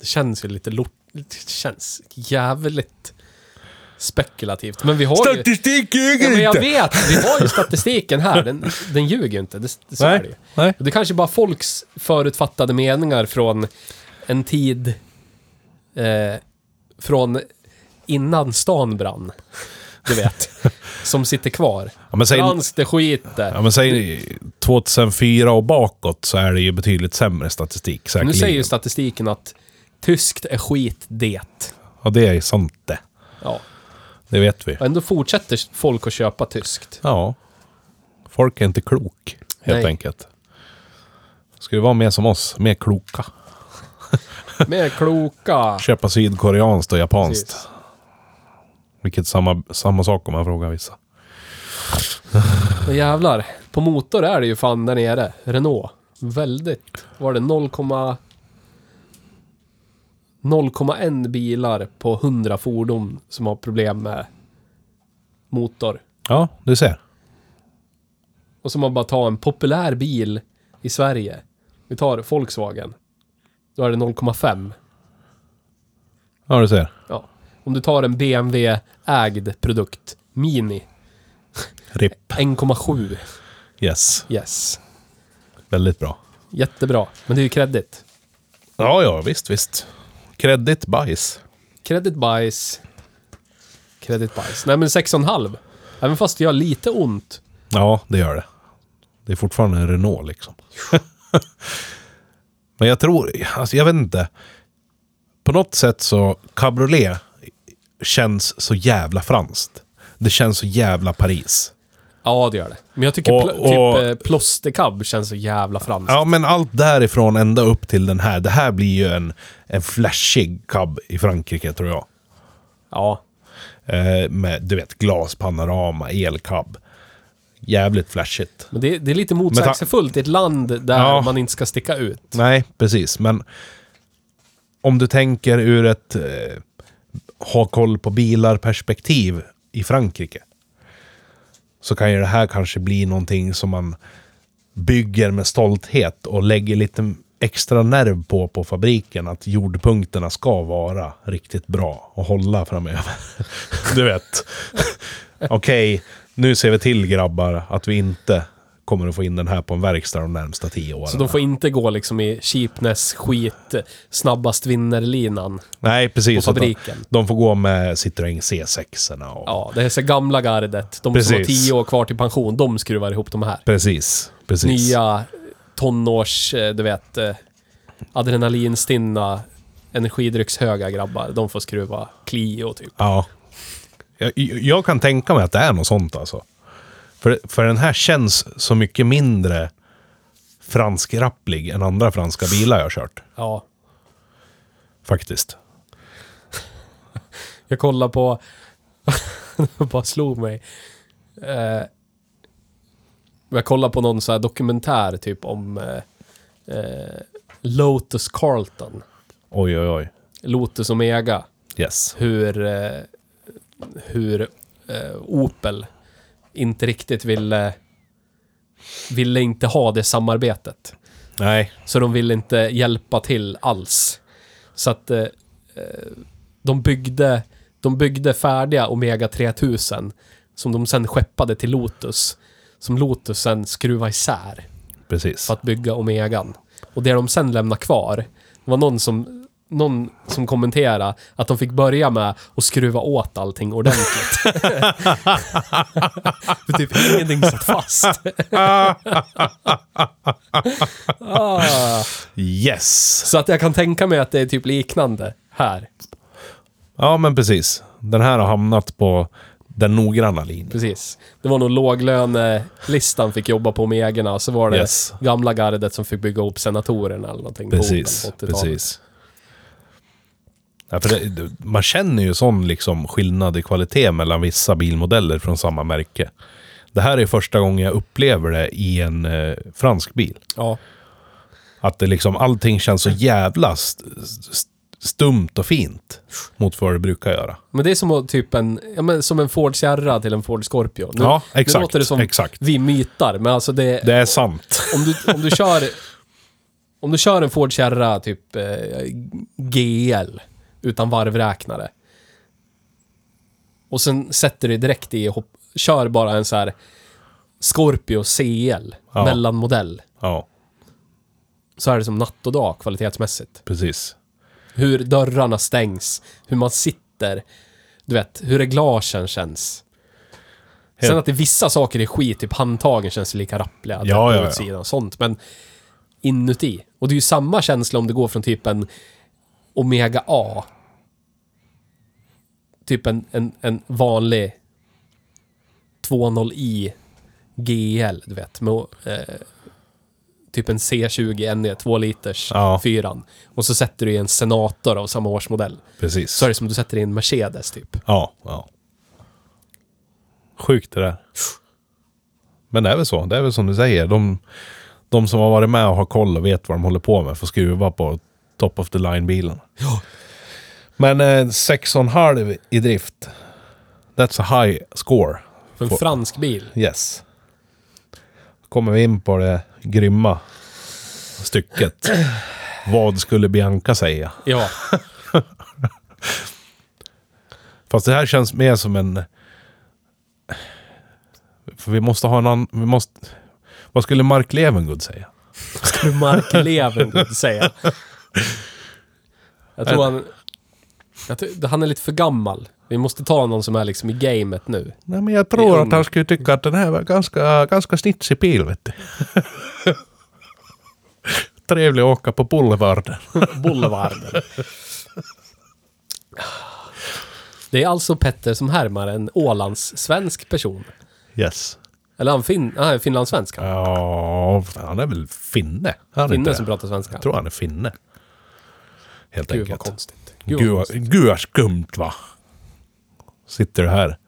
Speaker 2: Det känns ju lite lort... Det känns jävligt spekulativt. Men vi har ju...
Speaker 1: Statistik
Speaker 2: Ja,
Speaker 1: ljuger
Speaker 2: men jag
Speaker 1: inte!
Speaker 2: vet, vi har ju statistiken här. Den, den ljuger ju inte. Det, det, så är det ju.
Speaker 1: Nej, nej.
Speaker 2: Det kanske bara folks förutfattade meningar från en tid eh, från innan stan brann. Du vet. som sitter kvar.
Speaker 1: Ja, men säg,
Speaker 2: Franskt, det skiter.
Speaker 1: Ja, men säg 2004 och bakåt så är det ju betydligt sämre statistik
Speaker 2: nu
Speaker 1: säkerligen.
Speaker 2: säger ju statistiken att tyskt är skit det.
Speaker 1: Ja, det är sant det.
Speaker 2: Ja.
Speaker 1: Det vet vi.
Speaker 2: Och ändå fortsätter folk att köpa tyskt.
Speaker 1: Ja. Folk är inte klok, helt
Speaker 2: Nej.
Speaker 1: enkelt. Ska vi vara mer som oss, mer kloka.
Speaker 2: Mer kloka.
Speaker 1: Köpa sydkoreanskt och japanskt.
Speaker 2: Precis.
Speaker 1: Vilket samma, samma sak om man frågar vissa.
Speaker 2: Men jävlar. På motor är det ju fan där nere. Renault. Väldigt. Var det 0, 0,1 bilar på 100 fordon som har problem med motor.
Speaker 1: Ja, du ser.
Speaker 2: Och så man bara tar en populär bil i Sverige. Vi tar Volkswagen. Då är det 0,5.
Speaker 1: Ja, du ser.
Speaker 2: Ja. Om du tar en BMW-ägd produkt, Mini,
Speaker 1: RIP.
Speaker 2: 1,7.
Speaker 1: Yes.
Speaker 2: Yes.
Speaker 1: Väldigt bra.
Speaker 2: Jättebra. Men det är ju kredit.
Speaker 1: Ja, ja, visst, visst. Kredit bajs.
Speaker 2: Credit buys. Credit buys. Nej men 6,5. Även fast det gör lite ont.
Speaker 1: Ja, det gör det. Det är fortfarande en Renault liksom. Men jag tror, alltså jag vet inte. På något sätt så, cabriolet känns så jävla franskt. Det känns så jävla Paris.
Speaker 2: Ja, det gör det. Men jag tycker
Speaker 1: Och-
Speaker 2: pl-
Speaker 1: och-
Speaker 2: typ eh, plåstercab känns så jävla franskt.
Speaker 1: Ja, men allt därifrån ända upp till den här. Det här blir ju en, en flashig cab i Frankrike tror jag.
Speaker 2: Ja.
Speaker 1: Eh, med, du vet, glaspanorama, elcab. Jävligt flashigt.
Speaker 2: Men det, det är lite motsägelsefullt i ett land där
Speaker 1: Ja.
Speaker 2: man inte ska sticka ut.
Speaker 1: Nej, precis. Men om du tänker ur ett eh, ha koll på bilar-perspektiv i Frankrike så kan ju det här kanske bli någonting som man bygger med stolthet och lägger lite extra nerv på på fabriken att jordpunkterna ska vara riktigt bra och hålla framöver. Du vet. Okej, nu ser vi till grabbar att vi inte kommer att få in den här på en verkstad de närmsta tio åren.
Speaker 2: Så de får inte gå liksom i cheapness, skit, snabbast vinner-linan.
Speaker 1: Nej, precis.
Speaker 2: På fabriken.
Speaker 1: Utan De får gå med Citroën C6. -erna Och...
Speaker 2: Ja, det är så gamla gardet. De som har
Speaker 1: Precis.
Speaker 2: tio år kvar till pension, de skruvar ihop de här.
Speaker 1: Precis. precis.
Speaker 2: nya eh, tonårs, eh, du vet, eh, adrenalinstinna energidryckshöga grabbar. De får skruva Clio typ.
Speaker 1: Ja. Jag, jag kan tänka mig att det är något sånt alltså. För, för den här känns så mycket mindre franskrapplig än andra franska bilar jag har kört.
Speaker 2: Ja.
Speaker 1: Faktiskt.
Speaker 2: Jag kollar på... det bara slog mig. Eh, jag kollar på någon så här dokumentär typ om eh, eh, Lotus Carlton.
Speaker 1: Oj, oj, oj.
Speaker 2: Lotus Omega.
Speaker 1: Yes.
Speaker 2: hur, eh, hur eh, Opel inte riktigt ville, ville inte ha det samarbetet.
Speaker 1: Nej.
Speaker 2: Så de ville inte hjälpa till alls. Så att eh, eh, de byggde, de byggde färdiga Omega 3000 som de sen skeppade till Lotus. Som Lotus sen skruvade isär
Speaker 1: Precis.
Speaker 2: för att bygga Omegan. Och det de sen lämnar kvar, det var någon som, någon som kommenterade att de fick börja med att skruva åt allting ordentligt. För typ ingenting satt fast. ah,
Speaker 1: Yes!
Speaker 2: så att jag kan tänka mig att det är typ liknande här.
Speaker 1: Ja, men precis. Den här har hamnat på den noggranna linjen.
Speaker 2: Precis. Det var nog låglönelistan fick jobba på Omegorna, så var det
Speaker 1: Yes.
Speaker 2: gamla gardet som fick bygga upp senatorerna eller någonting. på
Speaker 1: Precis.
Speaker 2: Opel på 80-talet.
Speaker 1: precis. Ja, för det, man känner ju sån liksom skillnad i kvalitet mellan vissa bilmodeller från samma märke. Det här är första gången jag upplever det i en eh, fransk bil.
Speaker 2: Ja.
Speaker 1: Att det liksom, allting känns så jävla st- st- stumt och fint mot vad det brukar göra.
Speaker 2: Men det är som att typ en, ja, men som en Ford Sierra till en Ford Scorpio. Nu,
Speaker 1: Ja,
Speaker 2: Nu
Speaker 1: exakt,
Speaker 2: låter det som
Speaker 1: exakt.
Speaker 2: vi mytar, men alltså det,
Speaker 1: Det är sant.
Speaker 2: Om, du, om du kör... Om du kör en Ford Sierra typ eh, GL utan varvräknare. Och sen sätter du direkt i hopp, kör bara en så här Scorpio CL,
Speaker 1: Ja.
Speaker 2: mellanmodell.
Speaker 1: Ja,
Speaker 2: Så är det som natt och dag kvalitetsmässigt.
Speaker 1: precis.
Speaker 2: Hur dörrarna stängs, hur man sitter. Du vet, hur reglagen känns.
Speaker 1: Helt-
Speaker 2: Sen att det är vissa saker är skit, typ handtagen känns lika rappliga. typ
Speaker 1: ja,
Speaker 2: på
Speaker 1: ja.
Speaker 2: utsidan och sånt, men inuti. Och det är ju samma känsla om det går från typ en Omega A. Typ en, en, en vanlig 2.0i GL, du vet. Med, eh, typ en C20 NE, 2 liters,
Speaker 1: Ja.
Speaker 2: fyran. Och så sätter du i en Senator av samma årsmodell.
Speaker 1: Precis.
Speaker 2: Så är det som du sätter i en Mercedes, typ.
Speaker 1: Ja, ja. Sjukt det där. Men det är väl så. Det är väl som du säger. De, de som har varit med och har koll och vet vad de håller på med får skruva på top of the line-bilen. Men eh, 6,5 i drift. That's a high score.
Speaker 2: För en
Speaker 1: Får-
Speaker 2: fransk bil.
Speaker 1: Yes. kommer vi in på det grymma stycket. Vad skulle Bianca säga?
Speaker 2: Ja.
Speaker 1: Fast det här känns mer som en... För vi måste ha en annan... Vi måste... Vad skulle Mark Levengood säga?
Speaker 2: Skulle Mark Levengood säga. Jag tror han... Jag tror, han är lite för gammal. Vi måste ta någon som är liksom i gamet nu.
Speaker 1: Nej, men jag
Speaker 2: Det är
Speaker 1: tror
Speaker 2: ung.
Speaker 1: att han skulle tycka att den här var ganska, ganska snitsig bil, vet du. Trevlig att åka på Boulevarden.
Speaker 2: Boulevarden. Det är alltså Petter som härmar en Ålandssvensk person.
Speaker 1: Yes.
Speaker 2: Eller han fin, ah, finlandssvensk. han.
Speaker 1: Ja, han är väl finne? Han är inte
Speaker 2: Finne
Speaker 1: det?
Speaker 2: som pratar svenska.
Speaker 1: Jag tror han är finne. Helt
Speaker 2: Gud vad
Speaker 1: enkelt.
Speaker 2: konstigt. Gud, vad
Speaker 1: Gud, vad-
Speaker 2: konstigt.
Speaker 1: gud vad skumt va? Sitter du här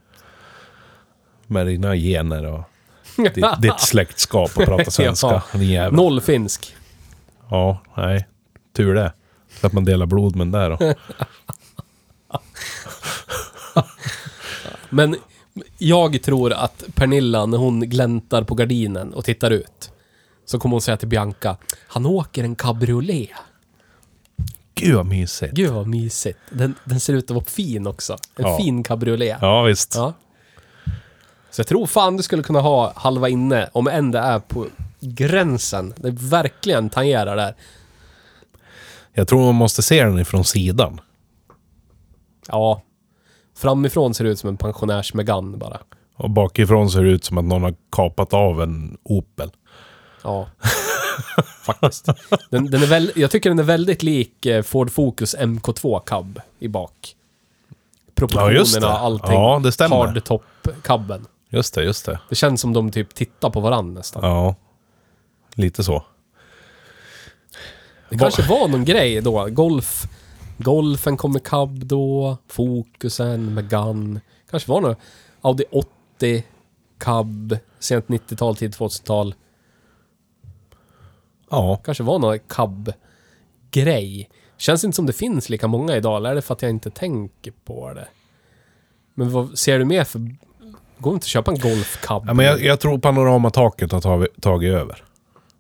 Speaker 1: med dina gener och ditt, ditt släktskap och pratar svenska. Din jävel.
Speaker 2: Noll finsk.
Speaker 1: Ja, nej. Tur det. Så att man delar blod med den där då.
Speaker 2: Men jag tror att Pernilla, när hon gläntar på gardinen och tittar ut, så kommer hon säga till Bianca, han åker en cabriolet.
Speaker 1: Gud vad mysigt.
Speaker 2: Gud vad mysigt. Den, den ser ut att vara fin också. En
Speaker 1: Ja.
Speaker 2: fin cabriolet.
Speaker 1: Ja, visst.
Speaker 2: Ja. Så jag tror fan du skulle kunna ha halva inne, om än det är på gränsen. Det verkligen tangerar där.
Speaker 1: Jag tror man måste se den ifrån sidan.
Speaker 2: Ja. Framifrån ser det ut som en pensionärs Megane bara.
Speaker 1: Och bakifrån ser det ut som att någon har kapat av en Opel.
Speaker 2: Ja. Faktiskt. Den, den är väl, jag tycker den är väldigt lik eh, Ford Focus MK2 cab i bak. Proportionerna,
Speaker 1: Ja, just det.
Speaker 2: allting.
Speaker 1: Ja, det stämmer.
Speaker 2: Hardtop cabben.
Speaker 1: Just det, just det.
Speaker 2: Det känns som de typ tittar på varandra nästan.
Speaker 1: Ja. Lite så.
Speaker 2: Det kanske var någon grej då. Golf. Golfen kom med cab då. Fokusen med gun. Kanske var något. Audi 80. Cab. Sent 90-tal, tidigt 2000-tal.
Speaker 1: Ja.
Speaker 2: Kanske var någon cab-grej. Känns inte som det finns lika många idag. Eller är det för att jag inte tänker på det? Men vad ser du mer för... Går inte att köpa en Golf Cab?
Speaker 1: ja men jag, jag tror panoramataket har tagit, tagit över.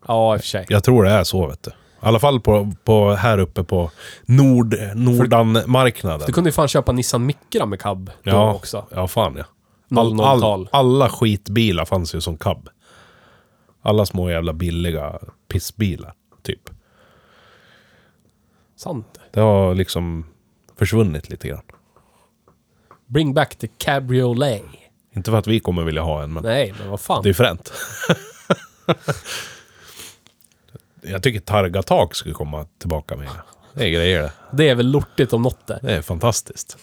Speaker 2: Ja, i och för sig.
Speaker 1: Jag tror det är så, vet du. I alla fall på, på, här uppe på nord, Nordanmarknaden.
Speaker 2: Du kunde ju fan köpa Nissan Micra med cab då
Speaker 1: ja,
Speaker 2: också.
Speaker 1: Ja, fan ja.
Speaker 2: 00-tal.
Speaker 1: alla skitbilar fanns ju som cab. Alla små jävla billiga pissbilar, typ.
Speaker 2: Sant.
Speaker 1: Det har liksom försvunnit lite grann.
Speaker 2: Bring back the cabriolet.
Speaker 1: Inte för att vi kommer vilja ha en, men
Speaker 2: Nej, men vad fan.
Speaker 1: det är fränt. Jag tycker targatak skulle komma tillbaka med. Det är grejer det.
Speaker 2: Det är väl lortigt om något det.
Speaker 1: Det är fantastiskt.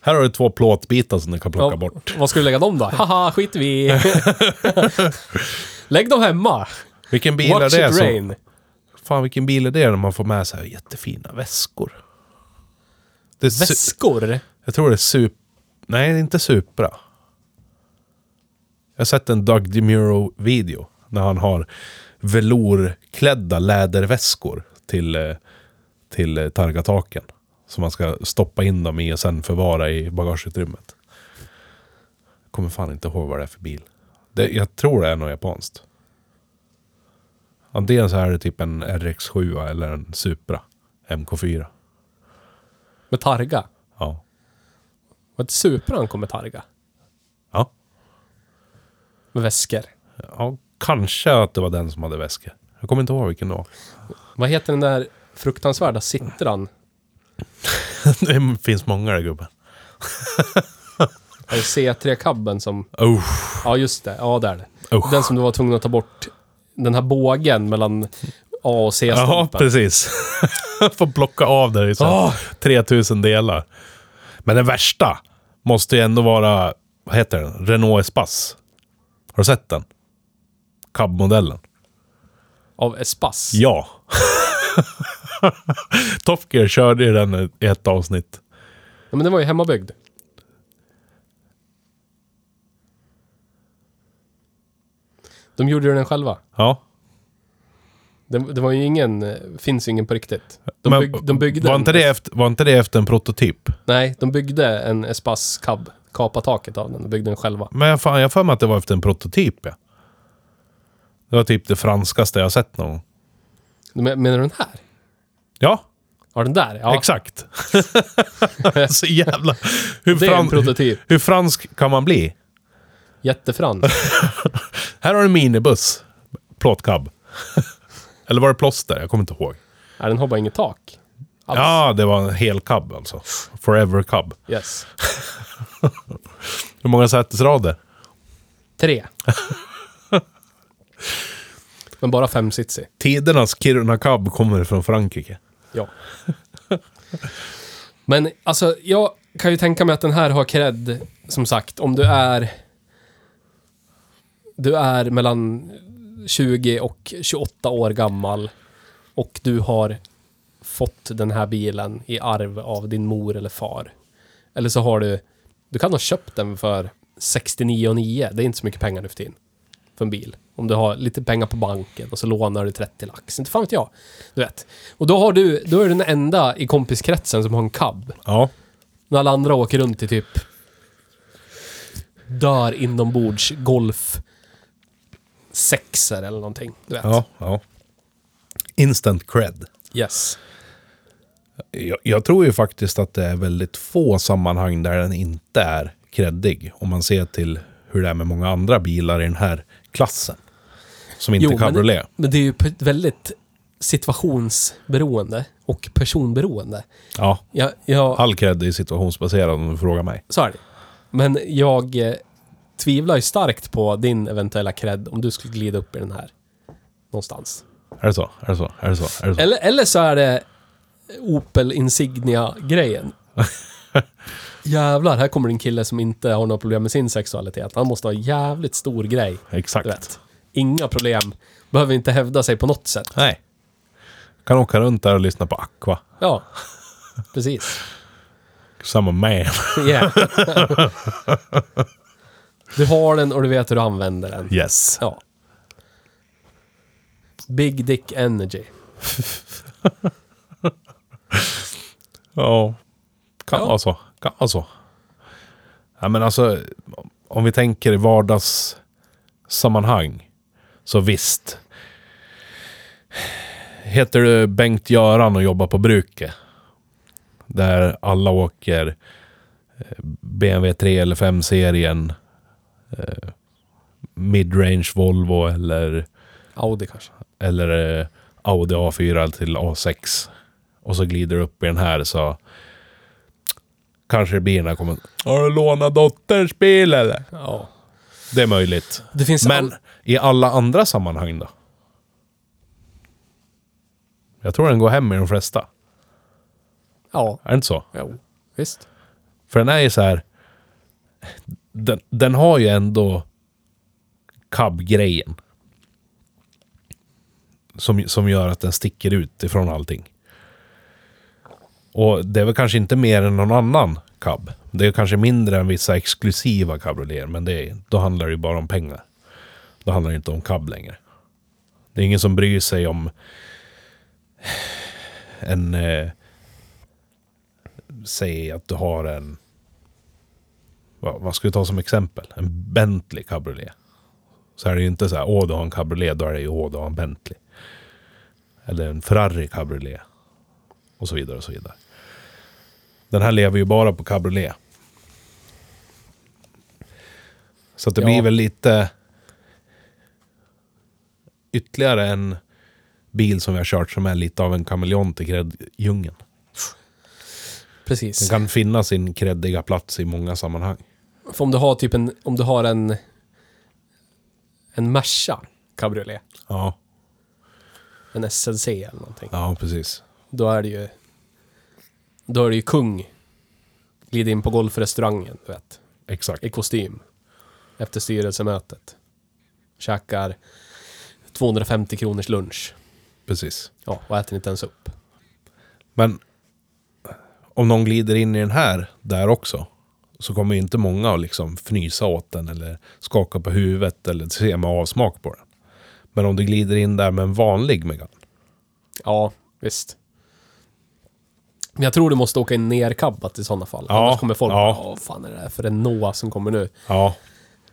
Speaker 1: Här har du två plåtbitar som du kan plocka
Speaker 2: Ja,
Speaker 1: bort.
Speaker 2: Vad ska du lägga dem då? Haha, skit vi i. Lägg dem hemma.
Speaker 1: Vilken bil
Speaker 2: Watch
Speaker 1: är
Speaker 2: it
Speaker 1: det? Som,
Speaker 2: rain.
Speaker 1: fan, vilken bil är det när man får med sig jättefina väskor? Det är su-
Speaker 2: Väskor.
Speaker 1: jag tror det är Sup... Nej, det är inte Supra. Jag har sett en Doug DeMuro-video när han har velourklädda läderväskor till, eh, till eh, targataken. Som man ska stoppa in dem i och sen förvara i bagageutrymmet. Jag kommer fan inte ihåg vad det är för bil. Det, jag tror det är något japanskt. Antingen så är det typ en RX7 eller en Supra MK4.
Speaker 2: Med targa.
Speaker 1: Ja.
Speaker 2: Var det Supran kom med targa?
Speaker 1: Ja.
Speaker 2: Med väskor.
Speaker 1: Ja, kanske att det var den som hade väskor. Jag kommer inte ihåg vilken det var.
Speaker 2: Vad heter den där fruktansvärda Citran?
Speaker 1: det finns många där gubben.
Speaker 2: Är det C3-cabben som...
Speaker 1: Usch,
Speaker 2: Ja, just det. Ja, där.
Speaker 1: Usch.
Speaker 2: Den som du var tvungen att ta bort. Den här bågen mellan A och
Speaker 1: Ja,
Speaker 2: C-stolpen.
Speaker 1: precis. Får plocka av där i så här 3000 delar. Men den värsta måste ju ändå vara, vad heter den? Renault Espace. Har du sett den? Cab-modellen.
Speaker 2: Av Espace.
Speaker 1: Ja. Top Gear körde ju den i ett avsnitt.
Speaker 2: Ja, men den var ju hemmabyggd. De gjorde ju den själva.
Speaker 1: Ja.
Speaker 2: Det, det var ju ingen, eh, finns ju ingen på riktigt. De,
Speaker 1: Men
Speaker 2: bygg, de byggde...
Speaker 1: var,
Speaker 2: en-
Speaker 1: inte det efter, var inte det efter en prototyp?
Speaker 2: Nej, de byggde en Espace Cab. Kapade taket av den och byggde den själva.
Speaker 1: Men jag fan, jag har för mig att det var efter en prototyp, ja. Det var typ det franskaste jag har sett någon gång.
Speaker 2: De, menar du den här?
Speaker 1: Ja,
Speaker 2: Ja, den där? Ja,
Speaker 1: exakt. Så jävla... Hur,
Speaker 2: det är en
Speaker 1: fran-
Speaker 2: prototyp.
Speaker 1: hur fransk kan man bli?
Speaker 2: Jättefrans.
Speaker 1: Här har du en minibuss. Plåtcab. Eller var det plåster? Jag kommer inte ihåg.
Speaker 2: Nej, den har bara inget tak. Alls.
Speaker 1: Ja, det var en hel cab alltså. Forever cab.
Speaker 2: Yes.
Speaker 1: Hur många sätesrader?
Speaker 2: Tre. Men bara femsitsig.
Speaker 1: Tidernas Kiruna cab kommer från Frankrike.
Speaker 2: Ja. Men alltså, jag kan ju tänka mig att den här har cred, som sagt, om du är... Du är mellan 20 och 28 år gammal och du har fått den här bilen i arv av din mor eller far. Eller så har du... Du kan ha köpt den för 69,9. Det är inte så mycket pengar nu för tiden. För en bil. Om du har lite pengar på banken och så lånar du 30 lax. Inte fan vet jag. Du vet. Och då har du... Då är du den enda i kompiskretsen som har en cab.
Speaker 1: Ja.
Speaker 2: När alla andra åker runt i typ... Dör inombords golf... Sexer eller någonting. Du vet.
Speaker 1: Ja, ja. Instant cred.
Speaker 2: Yes.
Speaker 1: Jag, jag tror ju faktiskt att det är väldigt få sammanhang där den inte är kreddig. Om man ser till hur det är med många andra bilar i den här klassen. Som inte
Speaker 2: Jo, men
Speaker 1: cabriolet.
Speaker 2: det- Men det är ju pe- väldigt situationsberoende och personberoende.
Speaker 1: Ja,
Speaker 2: Jag, jag,
Speaker 1: all cred är situationsbaserad om du frågar mig.
Speaker 2: så är det. Men jag eh, tvivlar ju starkt på din eventuella cred om du skulle glida upp i den här. Någonstans.
Speaker 1: Är det så? Är det så? Är det så? Är det så?
Speaker 2: Eller, eller så är det Opel Insignia-grejen. Jävlar, här kommer en kille som inte har några problem med sin sexualitet. Han måste ha en jävligt stor grej. Du
Speaker 1: Exakt.
Speaker 2: vet. Inga problem. Behöver inte hävda sig på något sätt.
Speaker 1: Nej. Kan åka runt där och lyssna på Aqua.
Speaker 2: Ja, precis.
Speaker 1: Samma man.
Speaker 2: Yeah. du har den och du vet hur du använder den.
Speaker 1: Yes.
Speaker 2: Ja. Big Dick Energy.
Speaker 1: Ja. Kan
Speaker 2: Ja.
Speaker 1: vara så. Kan vara så. alltså. Ja, men alltså, om vi tänker i vardagssammanhang. Så visst. Heter du Bengt-Göran och jobbar på bruket. Där alla åker eh, BMW 3 eller 5-serien. eh, Midrange Volvo eller
Speaker 2: Audi kanske.
Speaker 1: eller eh, Audi A4 till A6 och så glider du upp i den här så kanske det blir den här kommentaren. Har du lånat dotterns bil eller?
Speaker 2: Ja.
Speaker 1: Det är möjligt.
Speaker 2: Det finns
Speaker 1: Men
Speaker 2: all-
Speaker 1: i alla andra sammanhang då? Jag tror den går hem i de flesta.
Speaker 2: Ja.
Speaker 1: Är det inte så?
Speaker 2: Jo. Visst.
Speaker 1: För den är ju så här. Den, den har ju ändå cab-grejen. Som, som gör att den sticker ut ifrån allting. Och det är väl kanske inte mer än någon annan cab. Det är kanske mindre än vissa exklusiva cabrioleter, men det är, då handlar det ju bara om pengar. Då handlar det inte om cab längre. Det är ingen som bryr sig om en... Eh, säg att du har en... Vad, vad ska vi ta som exempel? En Bentley cabriolet. Så är det ju inte så här, åh du har en cabriolet, då är det ju, åh du har en Bentley. Eller en Ferrari cabriolet. Och så vidare och så vidare. Den här lever ju bara på cabriolet. Så att det
Speaker 2: Ja.
Speaker 1: blir väl lite ytterligare en bil som vi har kört som är lite av en kameleont i gräddjungeln. Den
Speaker 2: Precis.
Speaker 1: kan finna sin kreddiga plats i många sammanhang.
Speaker 2: För om du har typ en, om du har en, en Merca cabriolet,
Speaker 1: Ja,
Speaker 2: en SLC eller någonting,
Speaker 1: ja precis.
Speaker 2: då är det ju, då är det ju kung. Glida in på golfrestaurangen, du vet,
Speaker 1: Exakt.
Speaker 2: i kostym. Efter styrelsemötet. Käkar 250 kronors lunch.
Speaker 1: Precis.
Speaker 2: Ja, och äter inte ens upp.
Speaker 1: Men om någon glider in i den här där också så kommer ju inte många att liksom fnysa åt den eller skaka på huvudet eller se med avsmak på den. Men om du glider in där med en vanlig Megane.
Speaker 2: Ja, visst. Men jag tror du måste åka in nerkabbat i sådana fall.
Speaker 1: Ja,
Speaker 2: Annars kommer folk
Speaker 1: ja.
Speaker 2: bara, "Åh, vad fan är det här för en Noah som kommer nu?
Speaker 1: Ja,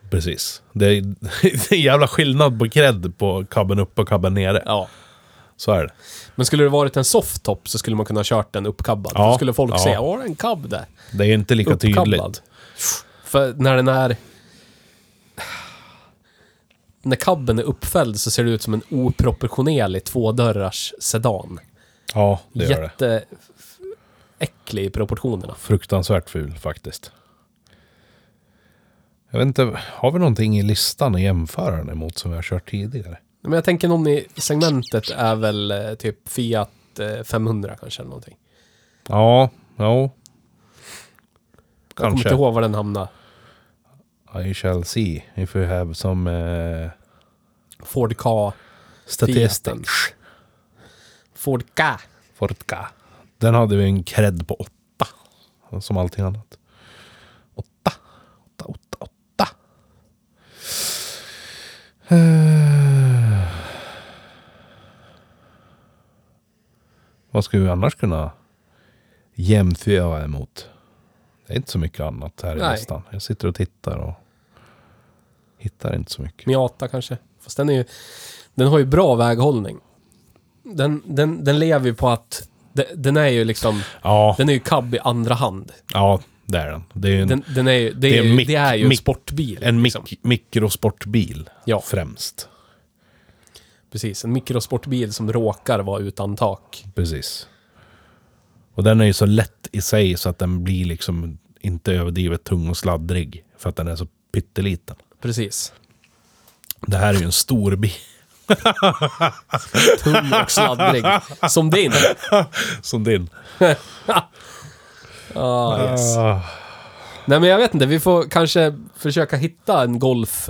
Speaker 1: precis. Det är, det är en jävla skillnad på cred på kabben upp och kabben nere.
Speaker 2: Ja.
Speaker 1: Så är det.
Speaker 2: Men skulle det varit en softtop så skulle man kunna ha kört den uppkabbad.
Speaker 1: Ja,
Speaker 2: Då skulle folk
Speaker 1: ja.
Speaker 2: säga, åh, det är en cab där.
Speaker 1: Det är inte lika
Speaker 2: Uppkabbad.
Speaker 1: tydligt.
Speaker 2: För när den är... När cabben är uppfälld så ser det ut som en oproportionerlig tvådörrars sedan.
Speaker 1: Ja, det gör det.
Speaker 2: Jätteäcklig i proportionerna.
Speaker 1: fruktansvärt ful faktiskt. Jag vet inte, har vi någonting i listan att jämföra den emot som vi har kört tidigare?
Speaker 2: Men jag tänker någon i segmentet är väl eh, typ Fiat eh, 500 kanske eller någonting.
Speaker 1: Ja, ja.
Speaker 2: Jag kommer
Speaker 1: Kanske.
Speaker 2: inte ihåg var den hamnar.
Speaker 1: I shall see if we have some eh,
Speaker 2: Ford Ka. Fiaten.
Speaker 1: statistics.
Speaker 2: Ford Ka.
Speaker 1: Fortka. Den hade vi en cred på åtta. Som allting annat. Åtta. Åtta, åtta, åtta. Eh. Vad ska vi annars kunna jämföra emot? Det är inte så mycket annat här i
Speaker 2: Nej.
Speaker 1: listan. Jag sitter och tittar och hittar inte så mycket.
Speaker 2: Miata kanske. Fast den är ju... Den har ju bra väghållning. Den, den, den lever ju på att... de- Den är ju liksom...
Speaker 1: Ja,
Speaker 2: Den är ju cab i andra hand.
Speaker 1: ja det är den. Det är en,
Speaker 2: Den, den är ju, det, är,
Speaker 1: Det är en
Speaker 2: ju-
Speaker 1: mik-
Speaker 2: det är ju en
Speaker 1: mik-
Speaker 2: sportbil.
Speaker 1: en
Speaker 2: liksom.
Speaker 1: mik- mikrosportbil
Speaker 2: Ja.
Speaker 1: främst.
Speaker 2: Precis, en mikrosportbil som råkar vara utan tak.
Speaker 1: Precis. Och den är ju så lätt i sig så att den blir liksom inte överdrivet tung och sladdrig. För att den är så pytteliten.
Speaker 2: Precis.
Speaker 1: Det här är ju en stor bil.
Speaker 2: Tung och sladdrig. som din.
Speaker 1: Som din.
Speaker 2: Ah, yes.
Speaker 1: Ah,
Speaker 2: Nej men jag vet inte, vi får kanske försöka hitta en Golf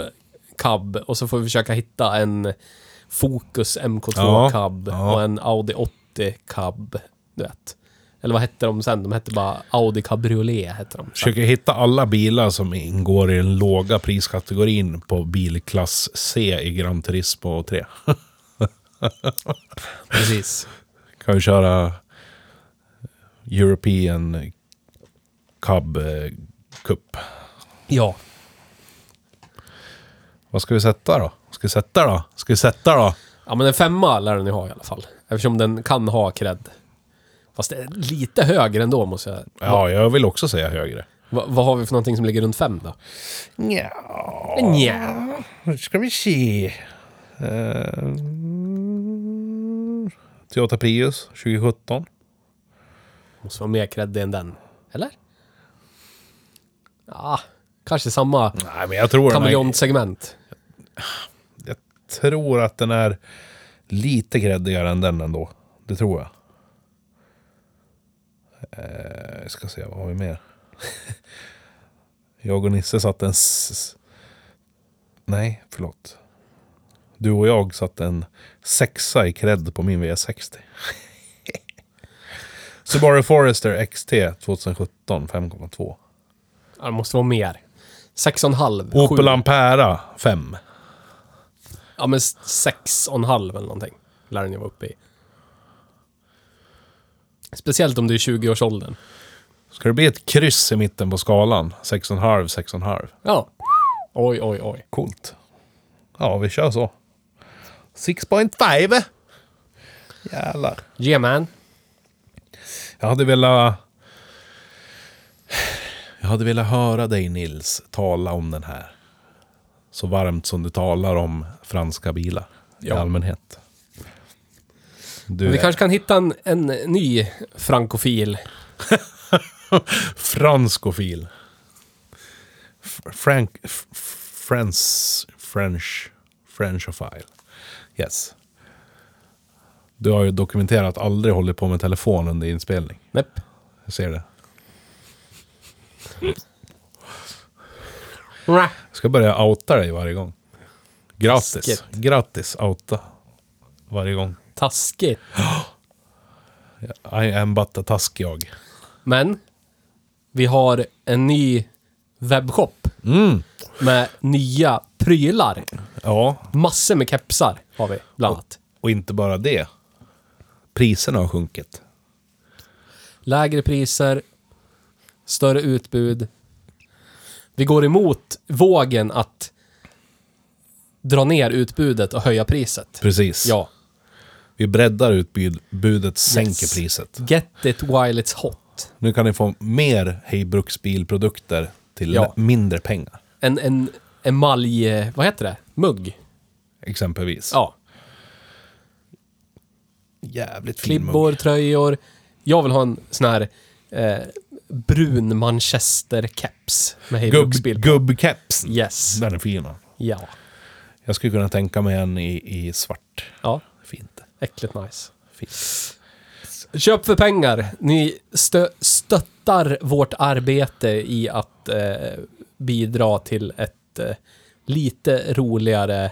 Speaker 2: Cab och så får vi försöka hitta en Focus MK2
Speaker 1: Ja,
Speaker 2: Cab
Speaker 1: ja.
Speaker 2: och en Audi 80 Cab. Du vet. Eller vad hette de sen? De hette bara Audi Cabriolet. Hette de. sen.
Speaker 1: försöker hitta alla bilar som ingår i den låga priskategorin på bilklass C i Gran Turismo 3.
Speaker 2: Precis.
Speaker 1: Kan ju köra European Cub eh, Cup.
Speaker 2: Ja.
Speaker 1: Vad ska vi sätta då? Ska vi sätta då? Ska vi sätta då?
Speaker 2: Ja men en femma lär den ju ha i alla fall. Eftersom den kan ha cred. Fast det är lite högre ändå måste jag...
Speaker 1: Ja, jag vill också säga högre.
Speaker 2: Va, vad har vi för någonting som ligger runt fem då?
Speaker 1: Ja,
Speaker 2: Nja.
Speaker 1: nu ska vi se. Eh, Toyota Prius 2017.
Speaker 2: Måste vara mer creddig än den. Eller? Ja, kanske samma
Speaker 1: Nej, men jag tror, den här,
Speaker 2: kameleontsegment.
Speaker 1: jag tror att den är lite gräddigare än den ändå. Det tror jag. Eh, jag ska se, vad har vi mer? jag och Nisse satt en... s- s- Nej, förlåt. Du och jag satt en sexa i cred på min V60. Subaru Forester XT 2017 5,2.
Speaker 2: Ja, det måste vara mer. 6,5.
Speaker 1: Opel
Speaker 2: sju.
Speaker 1: Ampera 5.
Speaker 2: Ja, men 6,5 eller någonting. Lär den ju vara uppe i. Speciellt om du är 20-årsåldern.
Speaker 1: Ska det bli ett kryss i mitten på skalan? 6,5, 6,5.
Speaker 2: Ja. Oj, oj, oj.
Speaker 1: Coolt. Ja, vi kör så. 6.5! Jävlar.
Speaker 2: Yeah man.
Speaker 1: Jag hade velat... Jag hade velat höra dig Nils tala om den här. Så varmt som du talar om franska bilar
Speaker 2: Ja.
Speaker 1: i allmänhet. Du
Speaker 2: Men vi
Speaker 1: är
Speaker 2: kanske kan hitta en, en ny frankofil.
Speaker 1: franskofil. F- Frank... f- f- Friends... French... Frenchophile. Yes. Du har ju dokumenterat att aldrig håller på med telefon under inspelning.
Speaker 2: Nej.
Speaker 1: Jag ser det.
Speaker 2: Nä.
Speaker 1: Jag ska börja outa dig varje gång. Grattis.
Speaker 2: Taskigt.
Speaker 1: Grattis outa. Varje gång.
Speaker 2: Taskigt.
Speaker 1: I am but a task jag.
Speaker 2: Men vi har en ny webbshop
Speaker 1: Mm.
Speaker 2: med nya prylar.
Speaker 1: Ja,
Speaker 2: Massor med kepsar har vi, bland annat.
Speaker 1: och inte bara det. Priserna har sjunkit.
Speaker 2: Lägre priser, större utbud. Vi går emot vågen att dra ner utbudet och höja priset.
Speaker 1: Precis.
Speaker 2: Ja.
Speaker 1: Vi breddar utbudet, sänker
Speaker 2: Yes.
Speaker 1: priset.
Speaker 2: Get it while it's hot.
Speaker 1: Nu kan ni få mer Hej Bruksbilprodukter till
Speaker 2: Ja.
Speaker 1: mindre pengar.
Speaker 2: En, en emalj... Vad heter det? Mugg?
Speaker 1: Exempelvis.
Speaker 2: Ja.
Speaker 1: Jävligt fin mugg.
Speaker 2: Klibbor, tröjor. Jag vill ha en sån här eh, brun manchesterkeps med Hej
Speaker 1: Gubb,
Speaker 2: Bruksbil.
Speaker 1: gubbkepsen.
Speaker 2: Yes.
Speaker 1: Den är fin. va?
Speaker 2: Ja.
Speaker 1: Jag skulle kunna tänka mig en i, i svart.
Speaker 2: Ja.
Speaker 1: Fint.
Speaker 2: Äckligt nice.
Speaker 1: Fint.
Speaker 2: Köp för pengar. Ni stö- stöttar vårt arbete i att eh, bidra till ett eh, lite roligare,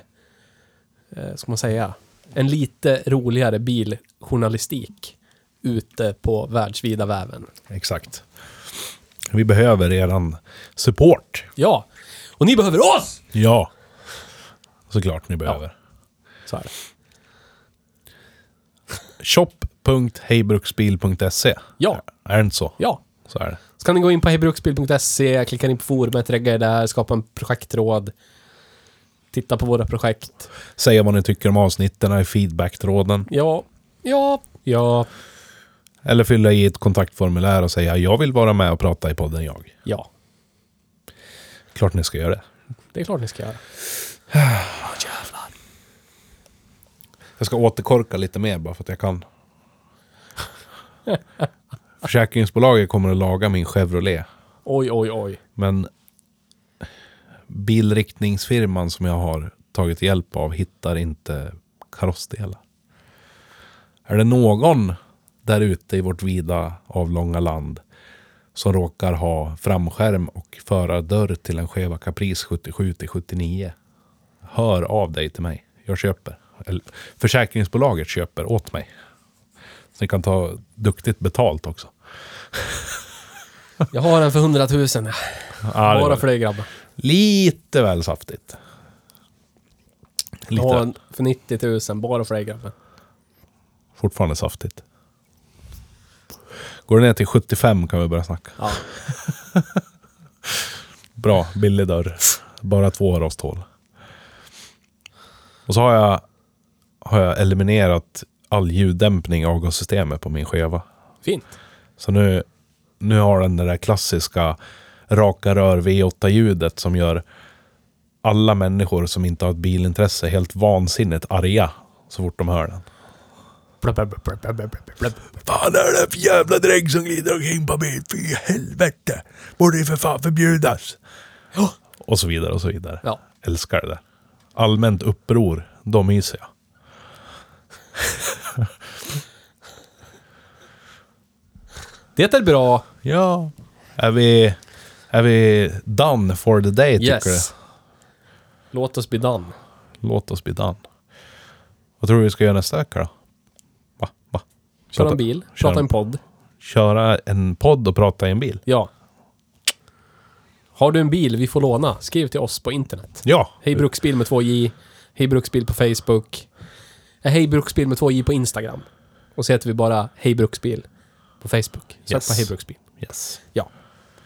Speaker 2: eh, ska man säga, en lite roligare biljournalistik ute på världsvida väven.
Speaker 1: Exakt. Vi behöver eran support.
Speaker 2: Ja, och ni behöver oss!
Speaker 1: Ja. Såklart ni behöver.
Speaker 2: Så är det.
Speaker 1: Shop.hejbruksbil.se
Speaker 2: Ja.
Speaker 1: Är det inte så?
Speaker 2: Ja.
Speaker 1: Så är det.
Speaker 2: Så kan ni gå in på hejbruksbil.se, klicka in på forumet, regga er där, skapa en projektråd, titta på våra projekt.
Speaker 1: Säga vad ni tycker om avsnitten i feedbacktråden.
Speaker 2: Ja, ja, ja,
Speaker 1: Eller fylla i ett kontaktformulär och säga jag vill vara med och prata i podden jag.
Speaker 2: ja.
Speaker 1: Klart ni ska göra det.
Speaker 2: Det är klart ni ska göra. Åh, Ah, jävlar.
Speaker 1: Jag ska återkorka lite mer bara för att jag kan. Försäkringsbolaget kommer att laga min Chevrolet.
Speaker 2: Oj, oj, oj.
Speaker 1: Men bilriktningsfirman som jag har tagit hjälp av hittar inte karossdelar. Är det någon där ute i vårt vida avlånga land som råkar ha framskärm och förardörr till en Cheva Caprice 77 till 79. Hör av dig till mig. Jag köper. Eller, försäkringsbolaget köper åt mig. Så ni kan ta duktigt betalt också.
Speaker 2: Jag har den för 100 000.
Speaker 1: Ja, det var
Speaker 2: Bara för dig grabbar.
Speaker 1: Lite väl saftigt.
Speaker 2: Jag
Speaker 1: Lite,
Speaker 2: har den för 90 000. Bara för dig grabbar.
Speaker 1: fortfarande saftigt. Går det ner till 75 kan vi börja snacka.
Speaker 2: Ja.
Speaker 1: Bra, billig dörr. Bara två rosthål. Och så har jag, har jag eliminerat all ljuddämpning i avgassystemet på min skeva.
Speaker 2: Fint.
Speaker 1: Så nu, nu har den det där klassiska raka rör V8-ljudet som gör alla människor som inte har ett bilintresse helt vansinnigt arga så fort de hör den.
Speaker 2: Blup, blup, blup, blup, blup, blup, blup.
Speaker 1: Fan är det för jävla dräng som glider omkring på bil? Fy helvete! Borde ju för fan förbjudas! Och så vidare och så vidare.
Speaker 2: Ja.
Speaker 1: Älskar det. Allmänt uppror, de myser jag.
Speaker 2: Det är bra.
Speaker 1: Ja. Är vi, är vi done for the day tycker
Speaker 2: Yes. Låt oss bli done.
Speaker 1: du? Låt oss bli done. Vad tror du vi ska göra nästa vecka då? Va? Va?
Speaker 2: Köra
Speaker 1: Prata-
Speaker 2: en bil.
Speaker 1: köra-
Speaker 2: Prata en podd.
Speaker 1: Köra en podd och prata i en bil?
Speaker 2: Ja. Har du en bil vi får låna, skriv till oss på internet.
Speaker 1: Ja.
Speaker 2: Hej Bruksbil med 2J. Hej Bruksbil på Facebook. Eh, Hej Bruksbil med 2J på Instagram. Och så heter vi bara Hej Bruksbil på Facebook. Sök
Speaker 1: Yes.
Speaker 2: på Hej Bruksbil.
Speaker 1: Yes.
Speaker 2: Ja.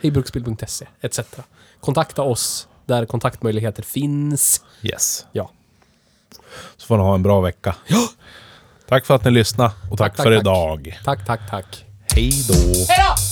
Speaker 2: Hejbruksbil.se etc. Kontakta oss där kontaktmöjligheter finns.
Speaker 1: Yes.
Speaker 2: Ja.
Speaker 1: Så får ni ha en bra vecka. Ja. Tack för att ni lyssnade och tack,
Speaker 2: tack,
Speaker 1: för
Speaker 2: tack.
Speaker 1: idag.
Speaker 2: Tack, tack, tack.
Speaker 1: Hej då.
Speaker 3: Hej då!